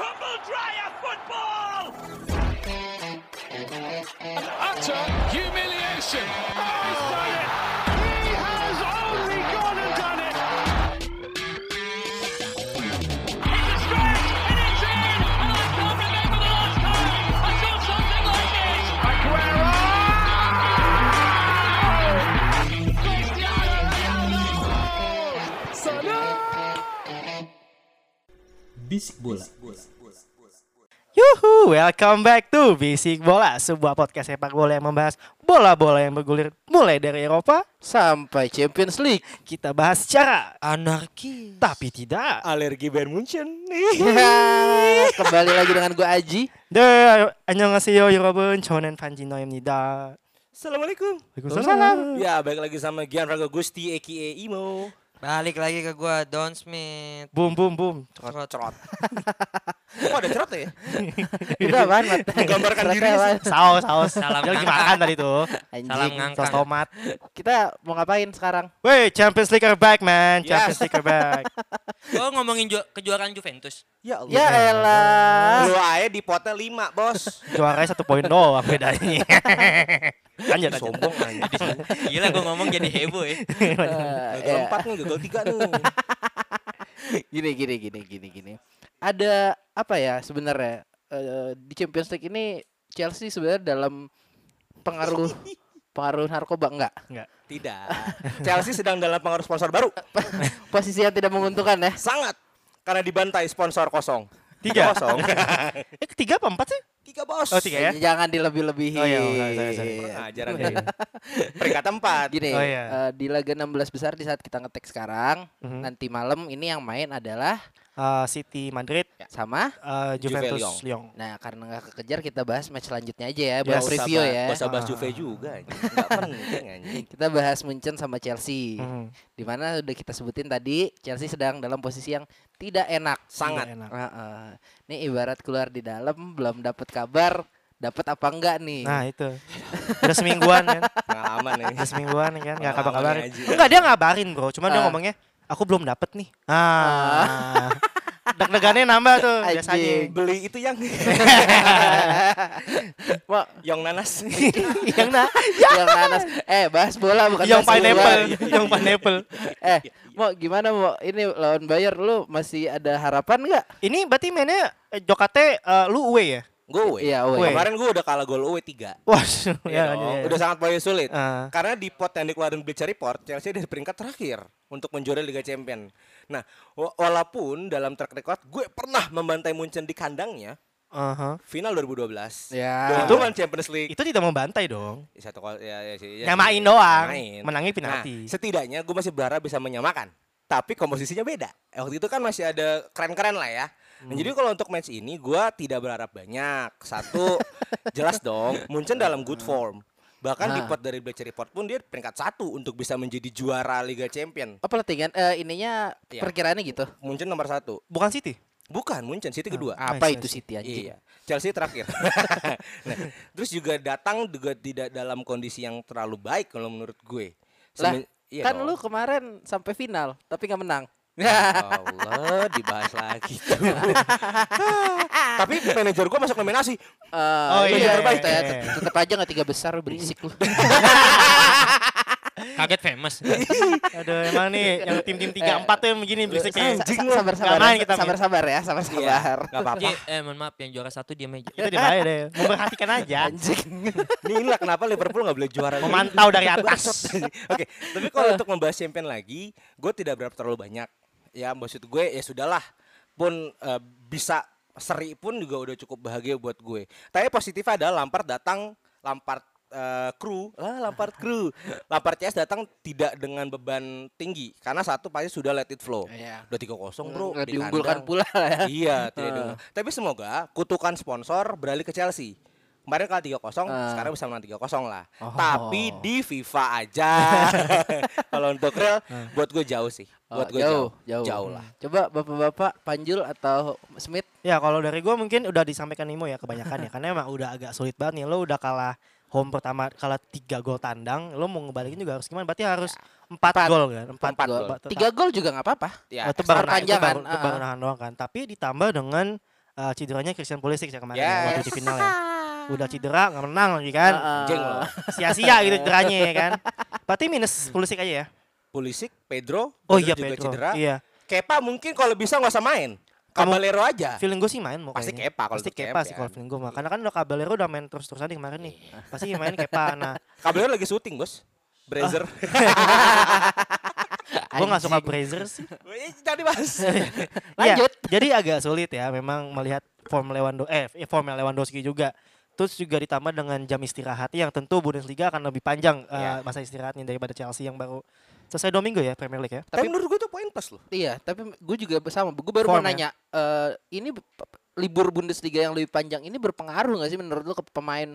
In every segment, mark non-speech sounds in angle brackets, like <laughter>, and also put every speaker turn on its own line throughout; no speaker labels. Andrea football!
Utter humiliation.
He has only gone and done it.
It's a stretch and it's in! And I can't remember the last time I saw something like this! Aguero! Cristiano Ronaldo!
Bisik bola.
Yuhu, welcome back to Bisik Bola, sebuah podcast sepak bola yang membahas bola-bola yang bergulir mulai dari Eropa.
sampai Champions League.
Kita bahas secara,
Anarki.
tapi tidak.
alergi Bayern Munchen.
Kembali lagi dengan gue Aji.
De, 안녕하세요 여러분, 저는 반지노입니다.
Assalamualaikum.
Waalaikumsalam.
Ya, balik lagi sama Gianfranco Gusti aka Imo.
Balik lagi ke gue Don Smith.
Boom, boom,
<laughs>
boom.
Cerot. Cerot.
Kok ada cerot ya?
Udah apaan, Mat? Cerotnya
Menggambarkan diri sih.
apaan?
Saus, saus.
Salam
Dia lagi
ngangkat.
makan tadi tuh.
Anjing.
ngangkat.
Saus tomat.
Kita mau ngapain sekarang?
Wey, Champions League are back, man.
Yes.
Champions League are back.
Gue ngomongin ju- kejuaraan Juventus.
Ya
Ya elah.
Lu aja di potnya 5, Bos.
Juaranya satu poin doang
<laughs>
bedanya. Lanjut, lanjut.
Sombong anjing.
Gila gue ngomong jadi heboh
<laughs>
ya.
Eh, ya.
Gagal 4 nih, gagal 3 nih.
Gini gini gini gini gini. Ada apa ya sebenarnya eh, di Champions League ini Chelsea sebenarnya dalam
<laughs>
pengaruh pengaruh narkoba enggak? <laughs>
Tidak. Chelsea sedang dalam pengaruh sponsor baru.
Posisi yang tidak menguntungkan ya.
Sangat karena dibantai sponsor kosong.
Tiga.
kosong.
<laughs> Eh, ketiga apa empat sih?
Tiga bos.
Oh, tiga ya?
Jangan
Oh,
dilebih-lebihin.
iya, sorry, sorry, sorry.
Iya.
Ajar Anda. Peringkat 4.
Gini,
Oh, iya.
eh, di laga 16 besar di saat kita ngetek sekarang,
Mhm.
nanti malam ini yang main adalah
Eh, City Madrid,
sama.
eh,
Juve
Juventus
Lyon.
Lyon.
Nah, karena nggak kekejar kita bahas match selanjutnya aja ya, buat
Yes.
review ya.
Bahasa bahas
Ah.
Juve juga anjing. Enggak penting anjing.
Kita bahas Munchen sama Chelsea.
Mhm.
Di mana udah kita sebutin tadi, Chelsea sedang dalam posisi yang tidak enak.
Sangat.
Nggak enak.
Heeh. Ini ibarat keluar di dalam belum dapat kabar, dapat apa enggak nih?
Nah itu Udah semingguan
<laughs>
kan
Pengalaman nih.
Udah semingguan kan Gak
Pengalaman
kabar-kabarin
aja.
Enggak dia ngabarin bro Cuman dia
Ah.
ngomongnya Aku belum dapet nih Ah <laughs> Deg-degannya nambah tuh
Anjing. <laughs>
Biasanya
Eh, Beli itu yang <laughs>
Wah,
yang nanas.
Yang nah
yang nanas. Eh, bahas bola bukan
Yang
bahas bola.
<laughs>
pineapple Yang pineapple
Eh, mau gimana mau ini lawan Bayer lu masih ada harapan nggak?
Ini berarti mainnya eh, Jokate eh, Lu away ya E.
Gue away.
Iya, away.
Kemarin gue E. Kan udah kalah gol away 3.
Wah
Iya
ya, ya,
dong.
ya.
Udah sangat poin sulit.
Ah.
Karena di pot yang dikeluarin Bleacher Report, Chelsea di peringkat terakhir untuk menjuarai Liga Champion. Nah, wa- walaupun dalam track record gue pernah membantai Munchen di kandangnya
Aha.
final 2012.
Nah.
Ya.
Itu kan Champions League.
Itu tidak membantai dong
Satu kol- ya, ya, sih, ya,
Iya. Nyamain
sih.
doang
Nyamain.
Menangnya
Nah,
penalti
setidaknya gue masih berharap bisa menyamakan. Tapi komposisinya beda. Eh, Waktu itu kan masih ada keren-keren lah ya.
Hmm.
Nah, jadi kalau untuk match ini gue tidak berharap banyak. Satu, <laughs> jelas dong Munchen dalam good form. Bahkan
Hmm.
di
Ah.
pot dari Bleacher Report pun dia peringkat satu untuk bisa menjadi juara Liga Champion.
Oh pelatihan eh, ininya
Iya.
perkiraannya gitu.
Munchen nomor satu.
Bukan City
Bukan Munchen, City kedua.
Ah, Apa
Nice,
itu
nice.
City anjing?
Iya. Chelsea terakhir.
<laughs>
nah, terus juga datang juga tidak dalam kondisi yang terlalu baik kalau menurut gue.
Lah,
Semen- iya
kan
dong.
lu kemarin sampai final tapi nggak menang.
Allah dibahas lagi tuh. Tapi manajer gua masuk nominasi.
Eh,
Oh,
lu
iya.
jangan baik, Tet. tetep aja nggak tiga besar lu berisik lu.
Kaget famous.
Iya.
Aduh emang nih Yang <laughs> tim-tim 3-4 tuh yang begini <laughs> berisik nih.
sabar
Nggak main
sabar
kita
sabar sabar ya sabar sabar.
Iya, nggak apa-apa.
Ji, eh mohon maaf yang juara satu dia meja.
Itu dibayar deh Memperhatikan aja
Anjing.
Ini inilah kenapa Liverpool nggak boleh juara.
Memantau <laughs> dari
<laughs>
<laughs>
atas
Bangsat. Oke, tapi kalau untuk membahas champion lagi, gue tidak berharap terlalu banyak. Ya maksud gue ya sudahlah. Pun eh, bisa seri pun juga udah cukup bahagia buat gue. Tapi positif ada Lampard datang, Lampard eh, kru, lah Lampard
<laughs>
kru. Lampard CS datang tidak dengan beban tinggi karena satu pasti sudah let it flow.
Iya.
Udah 3-0, Bro.
Nggak
di
diunggulkan
kandang.
pula ya. <laughs>
Iya, tidak diunggul. Tapi semoga kutukan sponsor beralih ke Chelsea. Kemarin kalah 3-0,
Ah.
sekarang bisa menang 3-0 lah.
Oh.
Tapi di FIFA aja. <laughs> Kalau untuk real, buat gue jauh sih.
Oh,
Buat gue jauh,
jauh,
lah.
Coba bapak-bapak Panjul atau Smith
Ya kalau dari gue mungkin udah disampaikan Nimo ya kebanyakan ya <laughs> Karena emang udah agak sulit banget nih Lo udah kalah home pertama kalah 3 gol tandang Lo mau ngebalikin juga harus gimana Berarti harus 4 gol kan 4
Empat
gol.
Ba-
Tiga gol juga nggak apa-apa.
Eh,
Ya, kan,
Itu baru
perpanjangan,
itu baru- itu baru
ah.
nahan doang kan Tapi kan. ditambah dengan eh, eh, cederanya Christian Pulisic ya kemarin
Yes.
ya, waktu di final
<laughs>
ya. Udah cedera nggak menang lagi kan.
Jeng loh.
Sia-sia gitu cederanya ya
<laughs>
kan. Berarti minus Pulisic aja ya.
Nah. Pulisic, Pedro,
Oh iya
Pedro juga
Pedro.
cedera.
Iya.
Kepa mungkin kalau bisa nggak usah main. Caballero aja.
Feeling gue sih main mau
Pasti
kayaknya.
Kepa kalau
Pasti
untuk
Kepa
CF
sih
ya. Iya.
kalau feeling gue mah. Karena kan udah Caballero udah main terus-terusan nih kemarin nih. Pasti main Kepa. Nah,
Caballero lagi syuting, Bos. Brazer. <laughs>
gue nggak suka Brazier sih.
Tadi bahas.
Iya,
Lanjut.
<laughs> jadi agak sulit ya memang melihat form Lewando eh form Lewandowski juga. Terus juga ditambah dengan jam istirahat yang tentu Bundesliga akan lebih panjang eh,
Iya.
masa istirahatnya daripada Chelsea yang baru selesai Domingo ya Premier League ya.
Tapi
Tapi-
menurut gue itu poin plus loh.
Iya, tapi gue juga sama. Gue baru mau
Form
nanya,
ya?
eh, ini b- p- libur Bundesliga yang lebih panjang ini berpengaruh nggak sih menurut lo ke pemain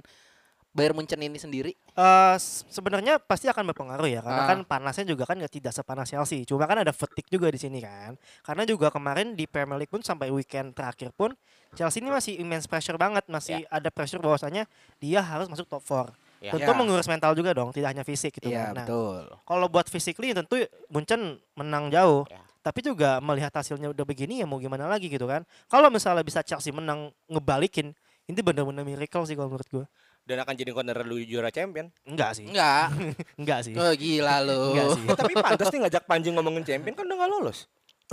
Bayern Munchen ini sendiri?
Eh, s- sebenarnya pasti akan berpengaruh ya karena
Ah.
kan panasnya juga kan nggak tidak sepanas Chelsea. Cuma kan ada fatigue juga di sini kan. Karena juga kemarin di Premier League pun sampai weekend terakhir pun Chelsea ini masih immense pressure banget, masih ada pressure bahwasanya dia harus masuk top 4.
Ya.
Tentu
Ya.
mengurus mental juga dong, tidak hanya fisik gitu
Iya,
kan. Nah,
betul.
kalau buat physically tentu Munchen menang jauh.
Ya.
Tapi juga melihat hasilnya udah begini ya mau gimana lagi gitu kan. Kalau misalnya bisa Chelsea menang ngebalikin, ini benar-benar miracle sih kalau menurut gue.
Dan akan jadi contender lu juara champion.
Enggak sih.
Enggak.
<laughs> Enggak sih.
Oh, gila lo.
Iya. Enggak
<laughs>
sih.
Eh, tapi pantas nih ngajak Panji ngomongin champion kan udah gak lolos.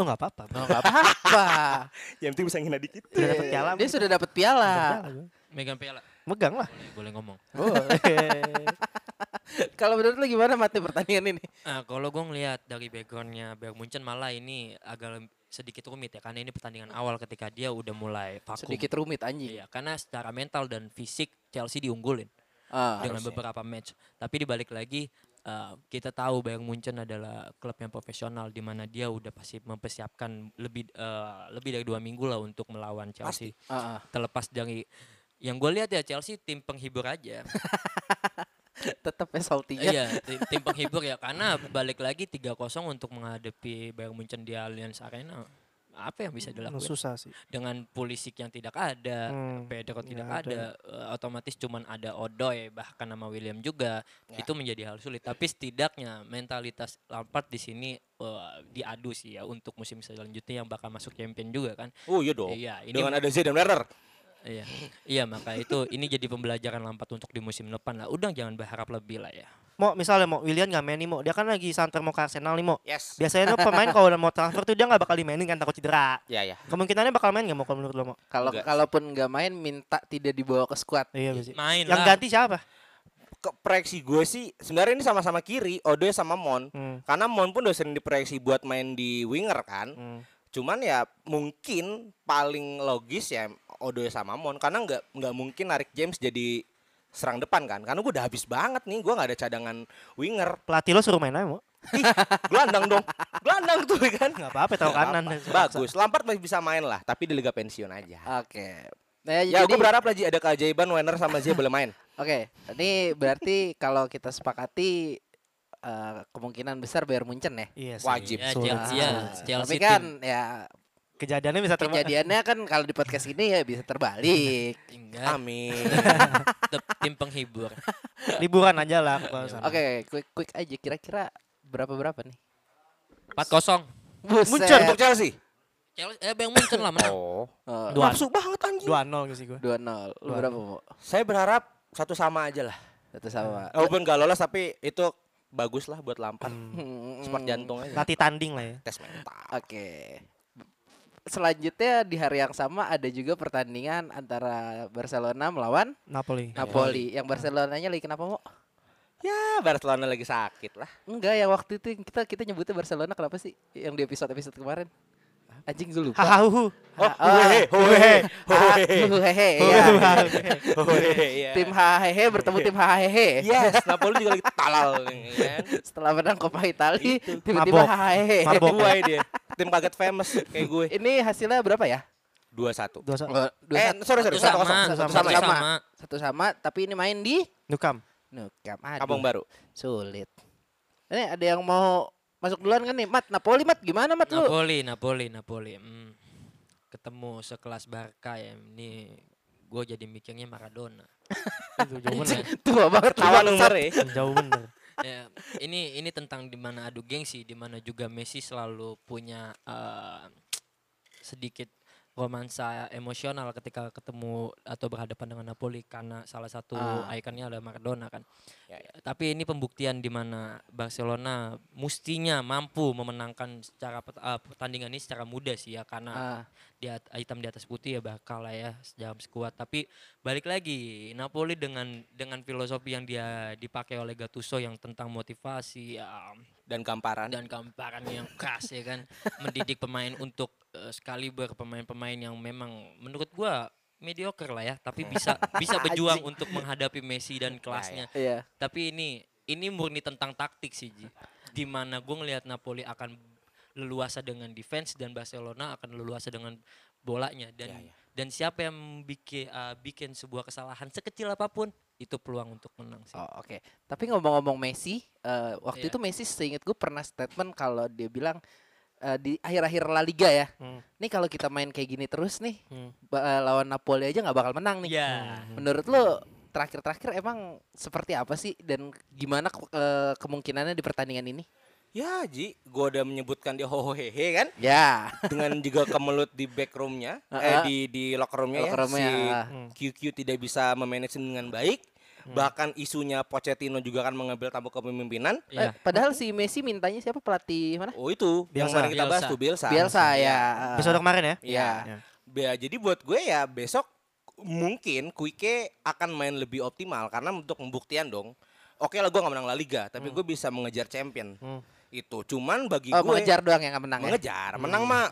Oh enggak apa-apa. Bro.
Enggak apa-apa.
Ya, Yang penting bisa ngina dikit.
Udah dapet piala.
Iya, Dia sudah dapat piala.
Megang lah gua.
Megan Piala.
Megang lah.
Boleh, boleh ngomong.
<laughs> Kalau menurut lo gimana mati pertandingan ini?
Nah, kalau gue ngelihat dari backgroundnya Bayern Munchen malah ini agak lem- sedikit rumit ya karena ini pertandingan awal ketika dia udah mulai vakum.
Sedikit rumit anjing.
Iya, karena secara mental dan fisik Chelsea diunggulin
Ah,
dengan beberapa match. Tapi dibalik lagi eh, kita tahu Bayern Munchen adalah klub yang profesional di mana dia udah pasti mempersiapkan lebih eh, lebih dari dua minggu lah untuk melawan Chelsea.
ah, ah.
Terlepas dari yang gue lihat ya Chelsea tim penghibur
<laughs>
aja.
Tetap ya saltinya.
Iya, ti- tim penghibur ya karena balik lagi 3-0 untuk menghadapi Bayern Munchen di Allianz Arena. Apa yang bisa dilakukan
Susah sih.
dengan Pulisic yang tidak ada,
Hmm,
Pedro tidak
nggak ada.
ada, eh, otomatis cuman ada Odoy bahkan nama William juga. Itu menjadi hal sulit, tapi setidaknya mentalitas Lampard di sini eh, diadu sih ya untuk musim selanjutnya yang bakal masuk champion juga kan.
Oh iya dong.
Iya, ini
Dengan ada Zidane Werner.
Iya. Iya, maka itu ini jadi pembelajaran Lampard untuk di musim depan lah. Udah jangan berharap lebih lah ya.
Mau misalnya mau William nggak main nih mau. Dia kan lagi santer mau ke Arsenal nih mau.
Yes.
Biasanya tuh pemain kalau udah mau transfer tuh dia nggak bakal dimainin kan takut cedera.
Ya ya.
Kemungkinannya bakal main nggak mau kalau menurut lo mau?
Kalau
Enggak sih.
kalaupun nggak main minta tidak dibawa ke squad.
Iya sih.
Main
Yang
lah.
ganti siapa?
Ke proyeksi gue sih sebenarnya ini sama-sama kiri, Odoy sama Mon.
Hmm.
Karena Mon pun udah sering diproyeksi buat main di winger kan.
Hmm.
Cuman ya mungkin paling logis ya Odoy sama Mon karena nggak nggak mungkin narik James jadi serang depan kan. Karena gue udah habis banget nih, gue nggak ada cadangan winger.
Pelatih lo suruh main aja mau.
Ih, gelandang dong. Gelandang tuh kan.
Nggak apa-apa tahu
Nggak
kanan.
apa-apa. Bagus. Lampard masih bisa main lah, tapi di liga pensiun aja.
Oke. Nah,
Ya,
jadi-
gue berharap lagi ada keajaiban Werner sama Zia boleh main.
Oke, ini berarti kalau kita sepakati eh, kemungkinan besar Bayar Munchen ya.
Iya sih.
Wajib.
Ya,
Sulit,
Chelsea, ya,
sulit.
Chelsea
Tapi kan
tim-
ya
Kejadiannya bisa terjadi.
kejadiannya kan kalau di podcast ini ya bisa terbalik.
Enggak,
Amin.
<laughs> tetap tim penghibur.
Liburan aja lah ke
Iya.
sana.
Oke, quick quick aja kira-kira berapa berapa nih?
4-0.
Buset.
Munchen untuk Chelsea.
Chelsea eh Bayern Munchen lah menang.
Oh.
Oh,
Dua,
Nafsu banget anjing.
dua nol gitu sih gue.
2-0. Lu
Dua.
berapa, Mo?
Saya berharap satu sama aja lah.
Satu sama.
Walaupun gak lolos tapi itu bagus lah buat Lampard.
Hmm,
Sport jantung aja.
Latih tanding lah ya.
Tes mental.
Oke. Selanjutnya di hari yang sama ada juga pertandingan antara Barcelona melawan
Iya.
Napoli.
Napoli. Yang Barcelonanya lagi kenapa, Mo?
Ya Barcelona lagi sakit lah.
Enggak ya waktu itu yang kita kita nyebutnya Barcelona kenapa sih yang di episode episode kemarin? Anjing gue lupa.
Hahaha.
Oh,
Ah, ah.
hehe, hehe,
Ah,
hehe,
hehehe, iya.
hehe, <laughs> iya.
Tim hahehe bertemu tim hahehe.
Yes, Napoli juga lagi <laughs> talal. nih, kan.
Setelah menang Coppa Itali, tiba-tiba
Mabok.
hahehe.
Mabok. Mabok.
Buai dia. Tim kaget famous kayak gue.
Ini hasilnya berapa ya?
Dua satu.
Dua so-
Eh, Dua
Eh,
satu,
sorry sorry
Satu
satu
sama,
kosong. Satu
satu
sama. ya?
sama.
satu sama, tapi ini main di
Nukam.
Nukam.
Kampung
Aduh,
Baru.
sulit. Ini ada yang mau masuk duluan kan nih, Mat? Napoli, Mat, gimana, Mat lu?
Napoli, Napoli, Napoli. Hmm. Ketemu sekelas Barca ya. Ini gue jadi mikirnya Maradona.
Itu jauh bener.
<laughs> Tua banget lu,
Tawan
bangsat.
nomor ya.
Jauh bener.
<laughs> ya, ini ini tentang dimana adu gengsi, dimana juga Messi selalu punya eh, sedikit romansa emosional ketika ketemu atau berhadapan dengan Napoli karena salah satu
Ah.
ikonnya adalah Maradona kan.
Ya, ya.
Tapi ini pembuktian di mana Barcelona mustinya mampu memenangkan secara pet- eh, pertandingan ini secara mudah sih ya
Ah,
karena di at- hitam di atas putih ya bakal lah ya dalam skuad tapi balik lagi Napoli dengan dengan filosofi yang dia dipakai oleh Gattuso yang tentang motivasi um,
dan Kamparan.
dan gamparan yang keras ya kan mendidik pemain untuk eh, sekaliber pemain-pemain yang memang menurut gua mediocre lah ya tapi bisa bisa berjuang untuk menghadapi Messi dan kelasnya
iya.
tapi ini ini murni tentang taktik sih Ji. Di mana gue ngelihat Napoli akan leluasa dengan defense dan Barcelona akan leluasa dengan bolanya dan
Ya, ya.
dan siapa yang bikin eh, bikin sebuah kesalahan sekecil apapun itu peluang untuk menang sih.
Oh, oke. Tapi ngomong-ngomong Messi, eh, waktu
Gitu. Iya.
itu Messi seingat gue pernah statement kalau dia bilang eh, di akhir-akhir La Liga ya.
Hmm.
Nih kalau kita main kayak gini terus nih,
Hmm.
ba- eh, lawan Napoli aja nggak bakal menang nih.
Iya.
Menurut lo terakhir-terakhir emang seperti apa sih dan gimana ke- eh, kemungkinannya di pertandingan ini?
Ya Ji, gue udah menyebutkan dia hohohehe kan
Ya.
dengan juga kemelut di back roomnya, eh
Heeh.
di di locker roomnya ya,
Locker roomnya, heeh. Hmm.
si QQ tidak bisa memanage dengan baik. Bahkan isunya Pochettino juga akan mengambil tamu kepemimpinan.
Iya.
Eh, padahal si Messi mintanya siapa pelatih mana?
Oh itu yang
Bielsa.
kemarin kita bahas
Bielsa.
tuh Bielsa.
Bielsa ya.
Ah.
eh.
Episode kemarin ya.
Iya.
Ya.
Ya, jadi buat gue ya besok mungkin Kuike akan main lebih optimal karena untuk pembuktian dong. Oke lah gue gak menang La Liga, tapi gue bisa mengejar champion.
Hmm.
Itu cuman bagi
Hmm. Oh,
gue
mengejar doang yang nggak menang ya.
mengejar, menang mah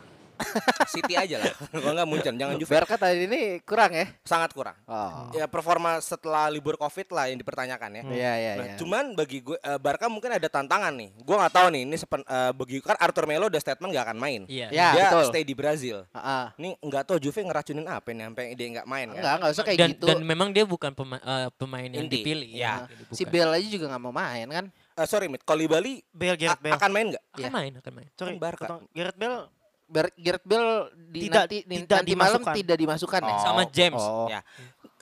City aja
<laughs>
lah. Kalau nggak Munchen, jangan Juve.
Berkat tadi ini kurang ya.
Sangat kurang.
Oh.
Ya performa setelah libur Covid lah yang dipertanyakan ya.
Iya, iya,
Nah,
iya.
cuman bagi gue eh, Barca mungkin ada tantangan nih. Gue nggak tahu nih ini sepen, eh, bagi kan Arthur Melo udah statement nggak akan main.
Iya.
Ya,
Dia
betul.
stay di Brazil.
Heeh.
Ini nggak tahu Juve ngeracunin apa nih sampai dia nggak main kan?
Enggak, enggak usah kayak
Dan
gitu. Nah,
dan memang dia bukan pema- eh, pemain yang
Inti.
dipilih.
Ya.
Bukan.
si Bell aja juga nggak mau main kan?
Eh, sorry Mit, kalau di Bali
Bale,
a-
Gareth Bale.
akan main nggak? Iya.
akan main akan main.
Sorry,
Kan Barca.
potong. Gareth Bale
Ber- Gareth Bale di
Tidak-
nanti di-
tidak
nanti malam
dimasukkan.
tidak dimasukkan ya.
Oh.
<laughs>
Sama James
Oh.
Ya.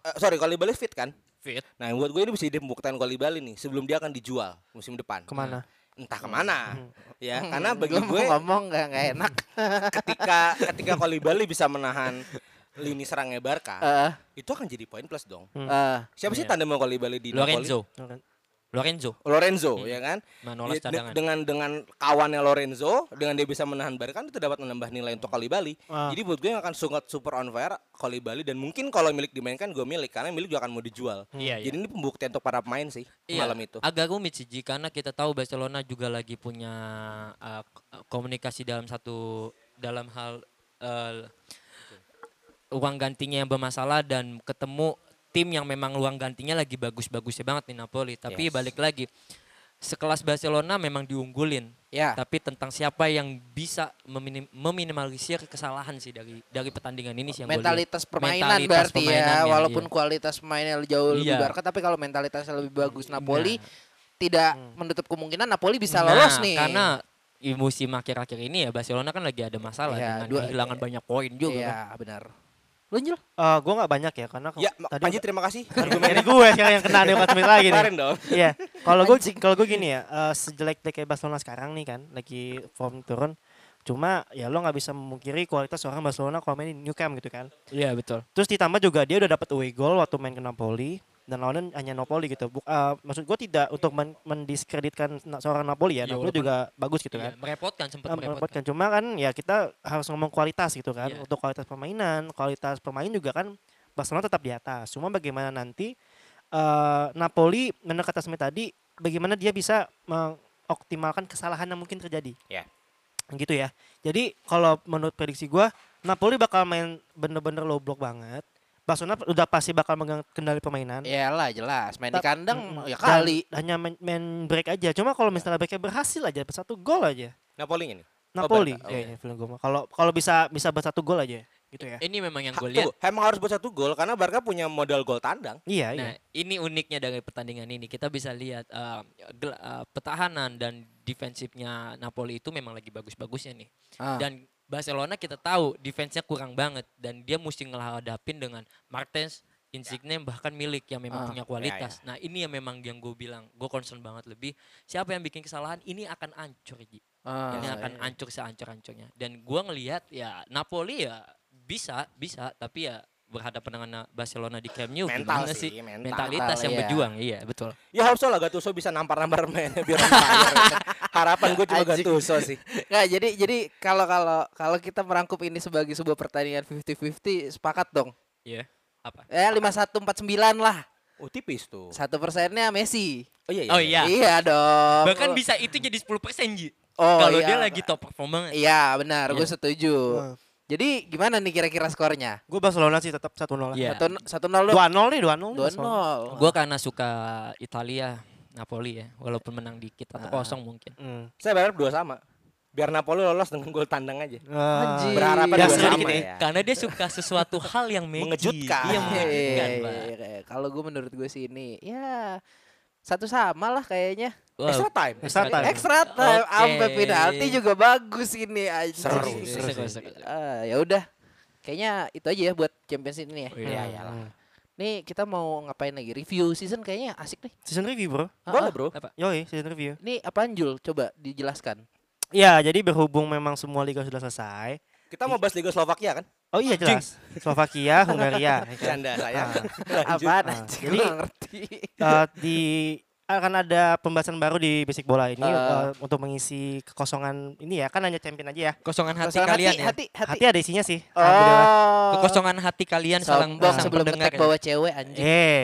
Eh, sorry kalau di Bali fit kan?
fit.
Nah buat gue ini bisa jadi pembuktian kalau di Bali nih sebelum dia akan dijual musim depan.
kemana?
Entah kemana. Ya karena
Hmm,
bagi
gua mau
gue
ngomong nggak nggak enak.
ketika ketika Koli Bali bisa menahan lini serangnya Barca,
Eh,
itu akan jadi poin plus dong.
eh,
Siapa sih
Iya.
tandem Koli Bali di Napoli?
Lorenzo.
Nah.
Lorenzo
Lorenzo ya kan?
Manolas
Dia- de-
cadangan.
dengan dengan kawannya Lorenzo, dengan dia bisa menahan Barca itu dapat menambah nilai untuk Koli Bali.
Ah.
Jadi buat gue yang akan sungat super on fire Koli Bali dan mungkin kalau milik dimainkan gue milik karena milik juga akan mau dijual.
Iya,
Jadi ini pembuktian untuk para pemain sih
Iya,
malam itu.
Agak rumit sih Ji, karena kita tahu Barcelona juga lagi punya uh, k- komunikasi dalam satu dalam hal uh, uang gantinya yang bermasalah dan ketemu tim yang memang uang gantinya lagi bagus-bagusnya banget nih Napoli. Tapi
Yes.
balik lagi sekelas Barcelona memang diunggulin.
Ya.
Tapi tentang siapa yang bisa meminim- meminimalisir kesalahan sih dari dari pertandingan ini sih yang gua lihat.
mentalitas permainan
Mentalitas
berarti ya,
permainannya,
walaupun
iya.
kualitas mainnya jauh lebih
Iya.
Barca tapi kalau mentalitasnya lebih bagus Napoli tidak menutup kemungkinan Napoli bisa
Nah,
lolos nih. Iya,
Karena di musim akhir-akhir ini ya Barcelona kan lagi ada masalah
Iya,
dengan
dua-
kehilangan banyak poin juga.
Iya,
kan.
benar. Lunjul.
Eh, gua nggak banyak ya karena ke-
Ya, Ma- Panji terima kasih. Argumen
Jadi gue sekarang yang kena nih waktu lagi nih.
kemarin dong.
Iya, kalau gue kalau gue gini ya, eh, sejelek-jeleknya Barcelona sekarang nih kan, lagi form turun. Cuma ya lo nggak bisa memungkiri kualitas orang Barcelona kalau main di Nou Camp gitu kan.
Iya betul.
Terus ditambah juga dia udah dapat away goal waktu main ke Napoli dan lawannya hanya Napoli gitu. Buk- eh, maksud gue tidak untuk men- mendiskreditkan na- seorang Napoli ya,
Iya,
Napoli
walaupun-
juga bagus gitu
Iya,
kan.
merepotkan sempat
Eh,
merepotkan.
merepotkan. Cuma kan ya kita harus ngomong kualitas gitu kan.
Iya.
Untuk kualitas permainan, kualitas pemain juga kan Barcelona tetap di atas. Cuma bagaimana nanti eh, Napoli benar kata Smith tadi, bagaimana dia bisa mengoptimalkan kesalahan yang mungkin terjadi.
Ya.
Gitu ya. Jadi kalau menurut prediksi gua Napoli bakal main bener-bener low block banget. Barcelona udah pasti bakal megang kendali permainan.
Iyalah jelas, main di
Ta-
kandang
Mm-mm.
Iya, ya
Dan
kali.
hanya main, main break aja. Cuma kalau misalnya breaknya berhasil aja, dapat satu gol aja.
Napoli ini. Oh,
Napoli
Barca, oke.
kayaknya film gue mah. Kalau kalau bisa bisa buat satu gol aja gitu ya.
Ini memang yang
Ha,
gue lihat.
tunggu, emang harus buat satu gol karena Barca punya modal gol tandang.
Iya, iya.
Nah, ini uniknya dari pertandingan ini. Kita bisa lihat eh, gel- eh, pertahanan dan defensifnya Napoli itu memang lagi bagus-bagusnya nih.
Ah.
Dan Barcelona kita tahu defense-nya kurang banget dan dia mesti ngeladapin dengan Martens, Insigne bahkan milik yang memang
Ah.
punya kualitas. Nah, ini yang memang yang gue bilang, gue concern banget lebih siapa yang bikin kesalahan ini akan hancur, Ji.
Ah,
Ini akan
iya.
hancur sehancur-hancurnya. Dan gue ngelihat ya Napoli ya bisa, bisa, tapi ya berhadapan dengan Barcelona di Camp Nou
Mental
gimana
sih,
sih?
mental.
Mentalitas
Mental,
yang
iya.
berjuang, iya betul.
Ya harusnya lah Gattuso bisa nampar-nampar mainnya biar on fire.
<laughs>
Harapan gue cuma
Anjing.
Gattuso sih.
Nggak, jadi jadi kalau kalau kalau kita merangkup ini sebagai sebuah pertandingan 50-50 sepakat dong.
Iya. Apa?
Ya 5149 lah.
Oh tipis tuh.
Satu persennya Messi.
Oh iya.
Oh iya.
Iya dong.
Bahkan bisa itu jadi 10% Ji.
Oh,
Kalau
iya.
dia lagi top perform banget.
Iya, benar. Gue
Iya.
setuju.
Hmm.
Jadi gimana nih kira-kira skornya?
Gue Barcelona sih tetap 1-0 lah.
Iya.
Satu satu nol
Dua nol nih, dua nol.
dua nol.
Gue karena suka Italia, Napoli ya, walaupun menang dikit atau kosong mungkin.
Hmm,
Saya berharap dua sama. Biar Napoli lolos dengan gol tandang aja.
Iya,
Anjing.
Berharap
Ya,
dua
iya,
sedikit
sama
ya.
ya.
Karena dia suka sesuatu hal yang magic.
Mengejutkan.
Iya,
Iya, iya,
mengejutkan, Pak.
iya, iya. Kalau gue menurut gue sih ini ya satu sama lah kayaknya.
Wow.
Extra time.
Extra time.
Extra time
Oke.
sampai penalti juga bagus ini anjing.
Seru,
Seru,
seru
seru,
sih.
seru.
Ah, ya udah. Kayaknya itu aja ya buat Champions ini ya.
Iya,
eh,
iyalah. Nih kita mau ngapain lagi? Review season kayaknya asik nih.
Season review bro.
Boleh bro.
Apa?
Yoi, season review.
Ini apaan Jul? Coba dijelaskan.
Ya, jadi berhubung memang semua liga sudah selesai.
Kita mau bahas Liga Slovakia kan?
Oh iya jelas. Slovakia, Hungaria. ya kan?
Canda saya.
Apaan
Ah,
anjing?
jadi-
Gue nggak ngerti.
Eh, di akan ada pembahasan baru di Basic Bola ini
Ah.
eh, untuk mengisi kekosongan ini ya. Kan hanya champion aja ya.
Kosongan hati
Soal
kalian ya.
hati, hati,
Hati Ah, ada isinya sih. Alhamdulillah.
Oh.
Kekosongan hati kalian salang
Sombong
sang
sebelum
pendengar
ngetek
ya.
bawa cewek anjing.
Eh,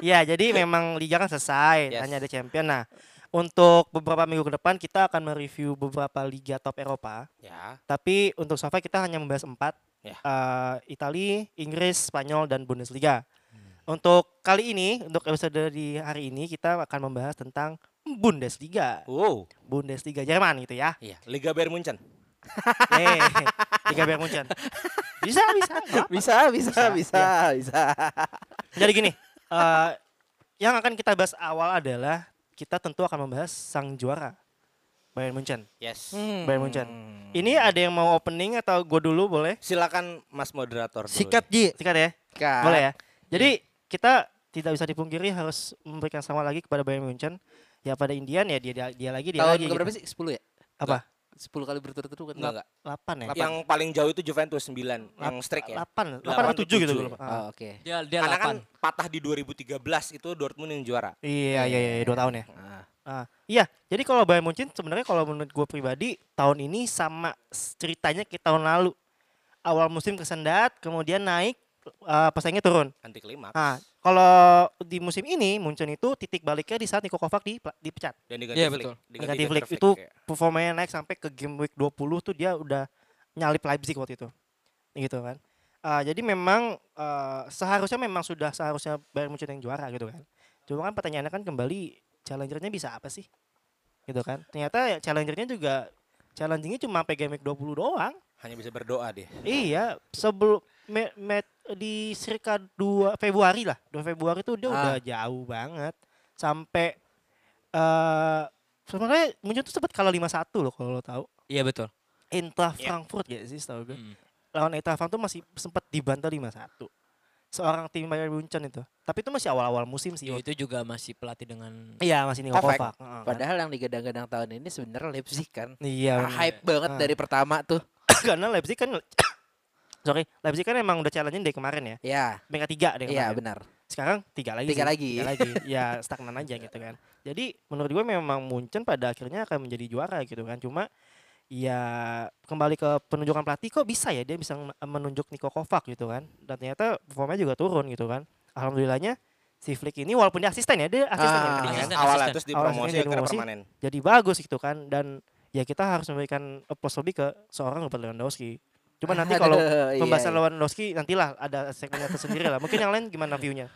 ya
<laughs>
jadi memang liga kan selesai,
Yes.
hanya ada champion. Nah, untuk beberapa minggu ke depan kita akan mereview beberapa liga top Eropa.
ya.
Tapi untuk Safa kita hanya membahas empat,
Ya.
Eh, Itali, Inggris, Spanyol, dan Bundesliga.
Hmm.
Untuk kali ini, untuk episode di hari ini kita akan membahas tentang Bundesliga,
Wow.
Bundesliga Jerman gitu
<laughs>
ya.
Iya. Liga Bayern Munchen.
Eh, Liga Bayern Munchen. Bisa, bisa.
<laughs>
nggak apa-apa.
Bisa, bisa, bisa, bisa.
Jadi gini, eh, yang akan kita bahas awal adalah kita tentu akan membahas sang juara Bayern Munchen.
Yes.
Bayern Munchen. Ini ada yang mau opening atau gue dulu boleh?
Silakan Mas moderator dulu.
Sikat Ji.
Sikat ya,
Kan.
boleh ya. Jadi kita tidak bisa dipungkiri harus memberikan sama lagi kepada Bayern Munchen. Ya pada Indian ya dia dia, dia lagi dia
Tahun
lagi.
berapa
gitu.
sih? 10 ya?
Apa?
10 kali berturut-turut kan?
Enggak enggak.
8 ya?
Yang paling jauh itu Juventus 9 yang streak ya.
8, 8
Delapan
atau 7 gitu
tujuh
gue
ya?
lupa. Ah.
Oh, oke.
Dia dia
Karena kan
lapan.
patah di 2013 itu Dortmund yang juara. Nah,
Iya, iya, iya, 2 tahun ya.
Ah.
Ah, iya, jadi kalau Bayern Munchen sebenarnya kalau menurut gue pribadi tahun ini sama s- ceritanya kayak tahun lalu. Awal musim kesendat, kemudian naik, eh, pesaingnya turun.
Anti klimaks.
Ah, kalau di musim ini Munchen itu titik baliknya di saat Niko Kovac di, dipecat.
Dan diganti
Iya,
Flick.
betul.
Negatif
Ganti
Flick
Flick,
itu
ya.
performanya naik sampai ke game week 20 tuh dia udah nyalip Leipzig waktu itu. Gitu kan. Ah, jadi memang eh, seharusnya memang sudah seharusnya Bayern Munchen yang juara gitu kan. Cuma kan pertanyaannya kan kembali challengernya bisa apa sih? Gitu kan. Ternyata ya challengernya juga challengingnya cuma sampai game week 20 doang.
hanya bisa berdoa deh.
Iya, sebelum me- met- di circa 2 Februari lah. 2 Februari tuh dia
Ah.
udah jauh banget sampai eh sebenarnya Munchen tuh sempat kalah 5-1 loh kalau lo tahu.
Iya betul.
Intra
Iya.
Frankfurt ya sih setahu gue.
Hmm.
Mm.
Lawan Intra Frankfurt tuh masih sempat dibantai 5-1. Seorang tim Bayern Munchen itu. Tapi itu masih awal-awal musim sih.
Iya.
Ya, itu juga masih pelatih dengan
Iya, masih Niko
Kovac.
Kovac. Heeh, kan.
Padahal yang digadang-gadang tahun ini sebenarnya Leipzig kan.
Iya, bener.
hype banget
Ah.
dari pertama tuh.
<laughs> karena Leipzig kan <coughs> Sorry, Leipzig kan emang udah challenge-nya dari kemarin ya.
Ya,
Peringkat tiga dari
iya
kemarin.
benar.
sekarang tiga lagi sih.
Tiga lagi.
tiga lagi ya stagnan aja gitu kan jadi menurut gue memang Munchen pada akhirnya akan menjadi juara gitu kan cuma ya kembali ke penunjukan pelatih kok bisa ya dia bisa men- menunjuk Niko Kovac gitu kan dan ternyata performanya juga turun gitu kan alhamdulillahnya si Flick ini walaupun dia asisten ya dia asisten ya
Ah,
tadinya kan.
asisten.
Awalnya terus dipromosi
Awalnya
akhirnya
dipromosi.
permanen.
jadi bagus gitu kan dan ya kita harus memberikan applause lebih ke seorang Robert Lewandowski cuma nanti
Aduh,
kalau
iya,
pembahasan
iya.
Lewandowski nantilah ada segmennya tersendiri lah mungkin yang lain gimana view-nya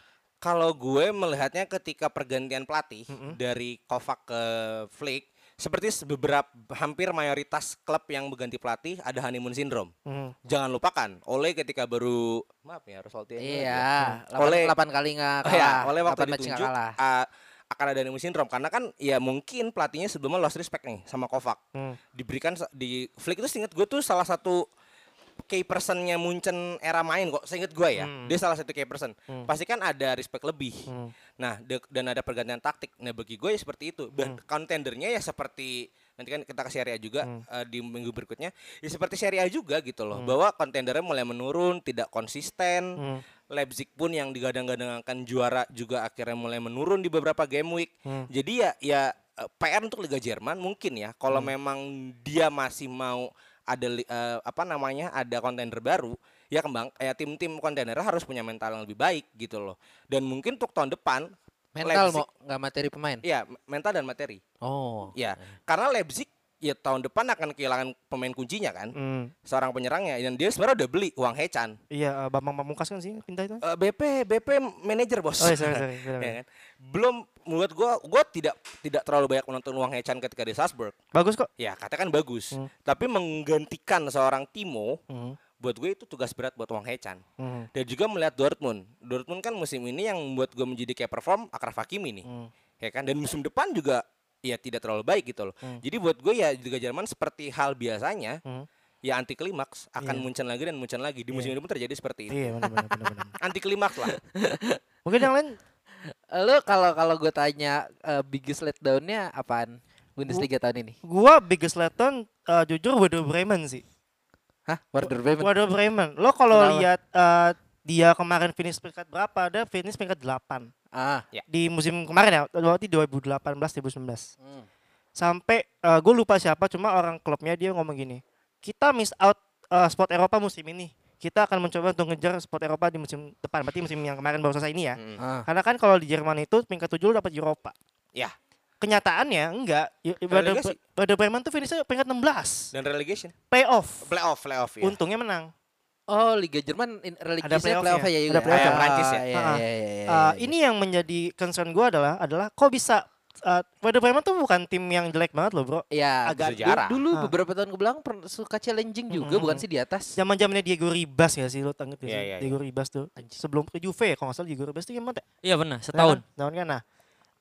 Kalau gue melihatnya ketika pergantian pelatih
Mm-mm.
dari Kovac ke Flick, seperti se- beberapa hampir mayoritas klub yang berganti pelatih ada honeymoon syndrome.
Hmm.
Jangan lupakan, Oleh ketika baru maaf ya harus Solskjaer lagi ya.
Iya,
Oleh-
8, kali nggak
Oh
kalah.
ya, Oleh waktu
8 match nggak
ditunjuk
kalah.
ah, akan ada honeymoon syndrome karena kan ya mungkin pelatihnya sebelumnya lost respect nih sama Kovac.
Hmm.
Diberikan sa- di Flick itu seingat gue tuh salah satu key personnya Munchen era main kok. Seingat gue ya,
Hmm.
dia salah satu key person.
Hmm.
Pasti kan ada respect lebih.
Hmm.
Nah, de- dan ada pergantian taktik. Nah, bagi gue ya seperti itu. Dan kontendernya ya seperti nanti kan kita ke Serie A juga
Hmm.
eh, di minggu berikutnya ya seperti Serie A juga gitu loh bahwa kontendernya mulai menurun tidak konsisten
Hmm.
Leipzig pun yang digadang-gadangkan juara juga akhirnya mulai menurun di beberapa game week
Hmm.
jadi ya ya eh, PR untuk Liga Jerman mungkin ya kalau
Hmm.
memang dia masih mau ada li- eh, apa namanya ada kontender baru ya kembang ya tim-tim kontender harus punya mental yang lebih baik gitu loh dan mungkin untuk tahun depan
Mental
Leipzig-
mau nggak materi pemain.
ya mental dan materi
Oh.
Ya, karena Leipzig ya tahun depan akan kehilangan pemain kuncinya kan,
Hmm.
seorang penyerangnya dan dia sebenarnya udah beli uang Hechan.
Iya, eh, Bambang Pamungkas kan sih pindah itu.
Eh, BP BP manajer bos.
Oh, iya, sorry,
<laughs>
sorry. Benar,
Ya
benar.
kan? Belum menurut gua gua tidak tidak terlalu banyak menonton uang Hechan ketika di Salzburg.
Bagus kok.
Ya, katakan bagus.
Hmm.
Tapi menggantikan seorang Timo
Hmm.
buat gue itu tugas berat buat Wang Hechan.
Hmm.
Dan juga melihat Dortmund. Dortmund kan musim ini yang membuat gue menjadi kayak perform Akraf Hakimi nih.
Hmm.
Ya kan? Dan musim depan juga ya tidak terlalu baik gitu loh. Jadi buat gue ya juga Jerman seperti hal biasanya
Hmm.
ya anti klimaks
Iya.
akan muncul lagi dan muncul lagi di musim ini pun terjadi seperti itu.
Iya, benar benar benar benar.
Anti klimaks
<laughs>
lah.
Mungkin yang lain
Lo kalau kalau gue tanya eh, biggest letdown-nya apaan? Bundesliga tahun ini.
gua biggest letdown eh, jujur Werder Bremen sih.
Hah? Werder Bremen.
Werder Bremen. Lo kalau
Kenapa?
lihat eh, dia kemarin finish peringkat berapa? Dia finish peringkat 8
Ah.
di musim kemarin ya, berarti 2018 2019.
Hmm.
Sampai gue lupa siapa cuma orang klubnya dia ngomong gini. Kita miss out eh, spot Eropa musim ini. Kita akan mencoba untuk ngejar spot Eropa di musim depan. Berarti musim yang kemarin baru selesai ini ya.
Mm.
Ah.
Karena kan kalau di Jerman itu peringkat 7 lu dapat Eropa.
Ya.
Kenyataannya enggak. Y- Werder
Relegasi.
Werder Bremen tuh finishnya peringkat 16.
Dan relegation,
Playoff.
playoff, playoff ya.
Untungnya menang.
Oh, Liga Jerman in- religiusnya
playoff-nya.
playoff ya juga.
Ada playoff
ya. Prancis ya.
Ah, Iya,
Ah,
iya, iya, iya,
Uh,
iya.
ini yang menjadi concern gue adalah adalah kok bisa uh, Werder Bremen tuh bukan tim yang jelek banget loh bro.
ya
agak
du-
sejarah.
Dulu
Ah.
beberapa tahun kebelakang pern- suka challenging juga,
Mm-mm.
bukan sih di atas.
Zaman zamannya Diego Ribas ya sih lo tanggep ya
Iya,
sih?
iya,
Diego Ribas tuh
Anjing.
sebelum ke Juve ya kalau nggak salah Diego Ribas tuh gimana? ya?
Iya benar, setahun.
Nah, Tahun kan nah.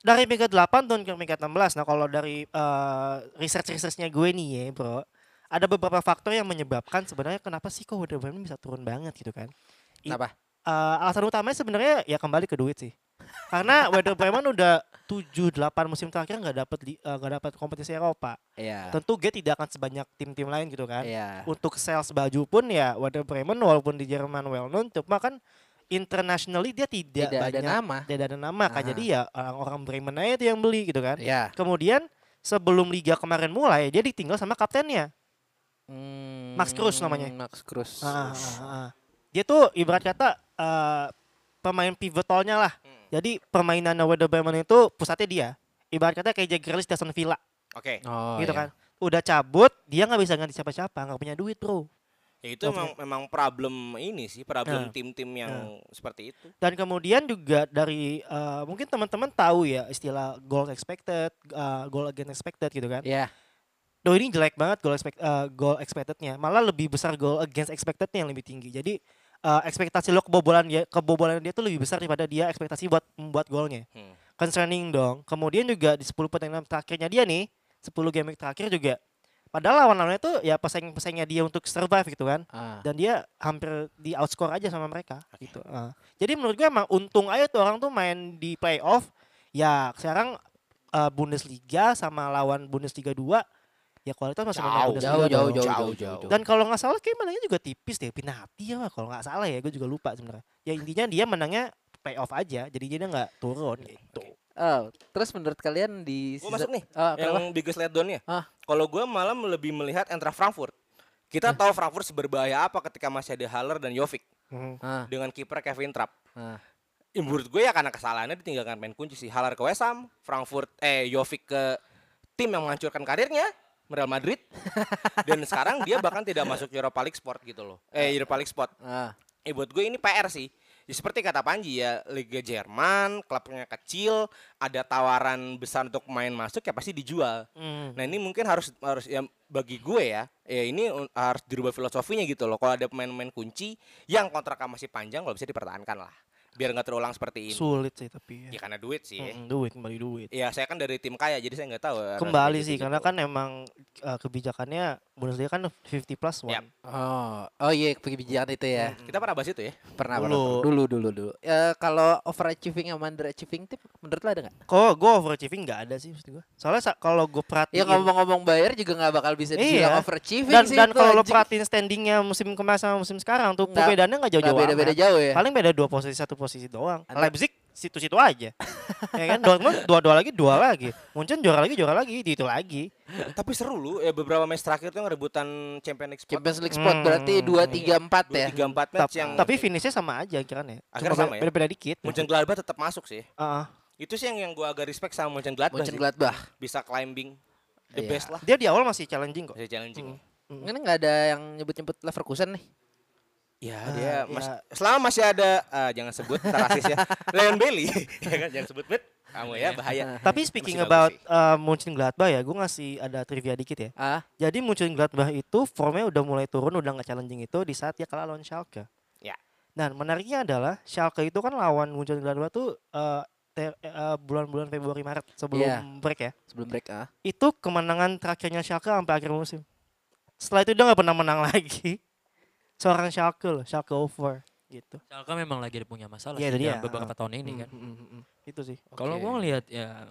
Dari peringkat 8 tahun ke peringkat 16. Nah kalau dari uh, research-researchnya gue nih ya bro. Ada beberapa faktor yang menyebabkan sebenarnya kenapa sih kok Werder Bremen bisa turun banget gitu kan. I-
Kenapa?
Uh, alasan utamanya sebenarnya ya kembali ke duit sih. Karena <laughs> Werder Bremen udah 7-8 musim terakhir nggak dapat li- uh, nggak dapat kompetisi Eropa.
Iya.
Tentu G tidak akan sebanyak tim-tim lain gitu kan.
Iya.
Untuk sales baju pun ya Werder Bremen walaupun di Jerman well known cuma kan internationally dia tidak,
Tidak ada
banyak
nama.
tidak ada nama kan.
Aha.
Jadi ya orang-orang Bremen aja itu yang beli gitu kan.
Iya.
Kemudian sebelum liga kemarin mulai dia ditinggal sama kaptennya.
Hmm,
Max Kruse namanya.
Max Kruse.
Ah, ah, ah, ah. Dia tuh ibarat kata eh, pemain pivotalnya lah. Jadi permainan Werder Bremen itu pusatnya dia. Ibarat kata kayak Jack Grealish di Aston Villa
Oke.
Oh,
gitu
iya.
kan. Udah cabut, dia nggak bisa ganti siapa-siapa, nggak punya duit, Bro.
Ya itu memang memang problem ini sih, problem
Nah.
tim-tim yang seperti itu.
Dan kemudian juga dari eh, mungkin teman-teman tahu ya istilah goal expected, eh, goal against expected gitu kan.
Iya.
Doh ini jelek banget goal expect eh, goal expectednya, malah lebih besar goal against expectednya yang lebih tinggi. Jadi eh, ekspektasi lo kebobolan dia kebobolan dia tuh lebih besar daripada dia ekspektasi buat membuat golnya.
Hmm.
Concerning dong. Kemudian juga di 10 pertandingan terakhirnya dia nih, 10 game week terakhir juga. Padahal lawan-lawannya tuh ya pesaing-pesaingnya dia untuk survive gitu kan.
Ah.
dan dia hampir di outscore aja sama mereka gitu. Ah. Jadi menurut gue emang untung aja tuh orang tuh main di playoff. Ya sekarang eh, Bundesliga sama lawan Bundesliga 2 ya kualitas masih menang
Jauh,
Bundesliga dong.
Jauh, jauh, jauh, jauh,
Jauh,
jauh, jauh.
Dan kalau nggak salah kayak menangnya juga tipis deh penalti ya kalau nggak salah ya gue juga lupa sebenarnya. Ya intinya dia menangnya playoff aja jadi dia nggak turun gitu.
Oh, terus menurut kalian di
Gua masuk nih.
Oh, kenapa?
yang biggest letdown-nya.
Ah.
Hah?
Kalau gue malam lebih melihat Eintracht Frankfurt.
Eh.
Kita tahu Frankfurt seberbahaya apa ketika masih ada Haller dan Jovic
Hmm.
Ah,
dengan kiper Kevin Trapp.
ah.
Ya, menurut gue ya karena kesalahannya ditinggalkan main kunci sih. Haller ke West Ham, Frankfurt eh Jovic ke tim yang menghancurkan karirnya Real Madrid dan sekarang dia bahkan tidak masuk Europa League spot gitu loh. Eh Europa League spot.
ah.
Eh buat gue ini PR sih. Ya, seperti kata Panji ya, Liga Jerman, klubnya kecil, ada tawaran besar untuk pemain masuk ya pasti dijual.
Hmm.
Nah ini mungkin harus harus ya bagi gue ya, ya ini un- harus dirubah filosofinya gitu loh. Kalau ada pemain-pemain kunci yang kontraknya masih panjang, kalau bisa dipertahankan lah, biar nggak terulang
Iya.
seperti ini.
Sulit sih tapi
Ya
ya.
karena duit sih.
Mm-mm, duit kembali duit.
Ya saya kan dari tim kaya, jadi saya nggak tahu.
Kembali sih karena kan emang eh, kebijakannya Bundesliga kan 50 plus one.
Yap.
Oh, oh iya kebijakan itu ya.
Kita pernah bahas itu ya.
Pernah
Dulu.
pernah, pernah. dulu dulu dulu. Eh kalau overachieving sama underachieving tip menurut lo ada nggak?
Kalau gue overachieving nggak ada sih maksud gue. Soalnya sa- kalau gue perhatiin
Ya ngomong-ngomong bayar juga nggak bakal bisa dibilang
Iya.
overachieving
dan
sih.
dan
itu,
kalau lo
anjing.
perhatiin standingnya musim kemarin sama musim sekarang tuh
Nggak-
perbedaannya nggak
Nggak
jauh-jauh amat.
beda-beda jauh
Iya.
ya.
Paling beda dua posisi satu posisi doang.
Anda-
Leipzig situ-situ aja. ya kan Dortmund dua-dua lagi dua lagi. Munchen juara lagi juara lagi itu lagi.
Tapi seru lu ya beberapa match terakhir tuh yang rebutan Champions League spot.
Champions League spot berarti
Hmm.
2 3 4
Dua,
ya.
tiga empat
Tap-
match yang
tapi finishnya sama aja kira ya. Cuma
Akhirnya sama ya?
Beda-beda dikit.
Munchen Gladbach tetap masuk sih.
Heeh.
Itu sih yang yang gua agak respect sama Munchen Gladbach. sih.
Mönchengladbach.
Bisa climbing the
Iya.
best lah.
dia di awal masih challenging kok.
Bisa challenging.
Hmm. Ini nggak ada yang nyebut-nyebut Leverkusen nih.
Ya,
Ah,
dia mas,
iya.
selama masih ada ah, jangan sebut ntar rasis <laughs> ya. Leon Bailey. Ya kan, jangan sebut bet. Kamu ya bahaya.
Tapi speaking
Masih
about
bagus sih.
uh, Munchen Gladbach ya, gue ngasih ada trivia dikit ya.
Ah,
Jadi Munchen Gladbach itu formnya udah mulai turun, udah nggak challenging itu di saat dia kalah lawan Schalke.
Ya.
Dan menariknya adalah Schalke itu kan lawan Munchen Gladbach tuh uh, ter- eh, bulan-bulan Februari Maret sebelum
Iya.
break ya.
sebelum break ah.
Itu kemenangan terakhirnya Schalke sampai akhir musim. Setelah itu dia nggak pernah menang lagi. <laughs> Seorang Schalke loh, Schalke over gitu.
Schalke kan? memang lagi ada punya masalah
Iya,
sih
itu dia.
dalam beberapa tahun ini
Hmm,
kan.
Itu sih.
Oke.
Kalau gua ngelihat ya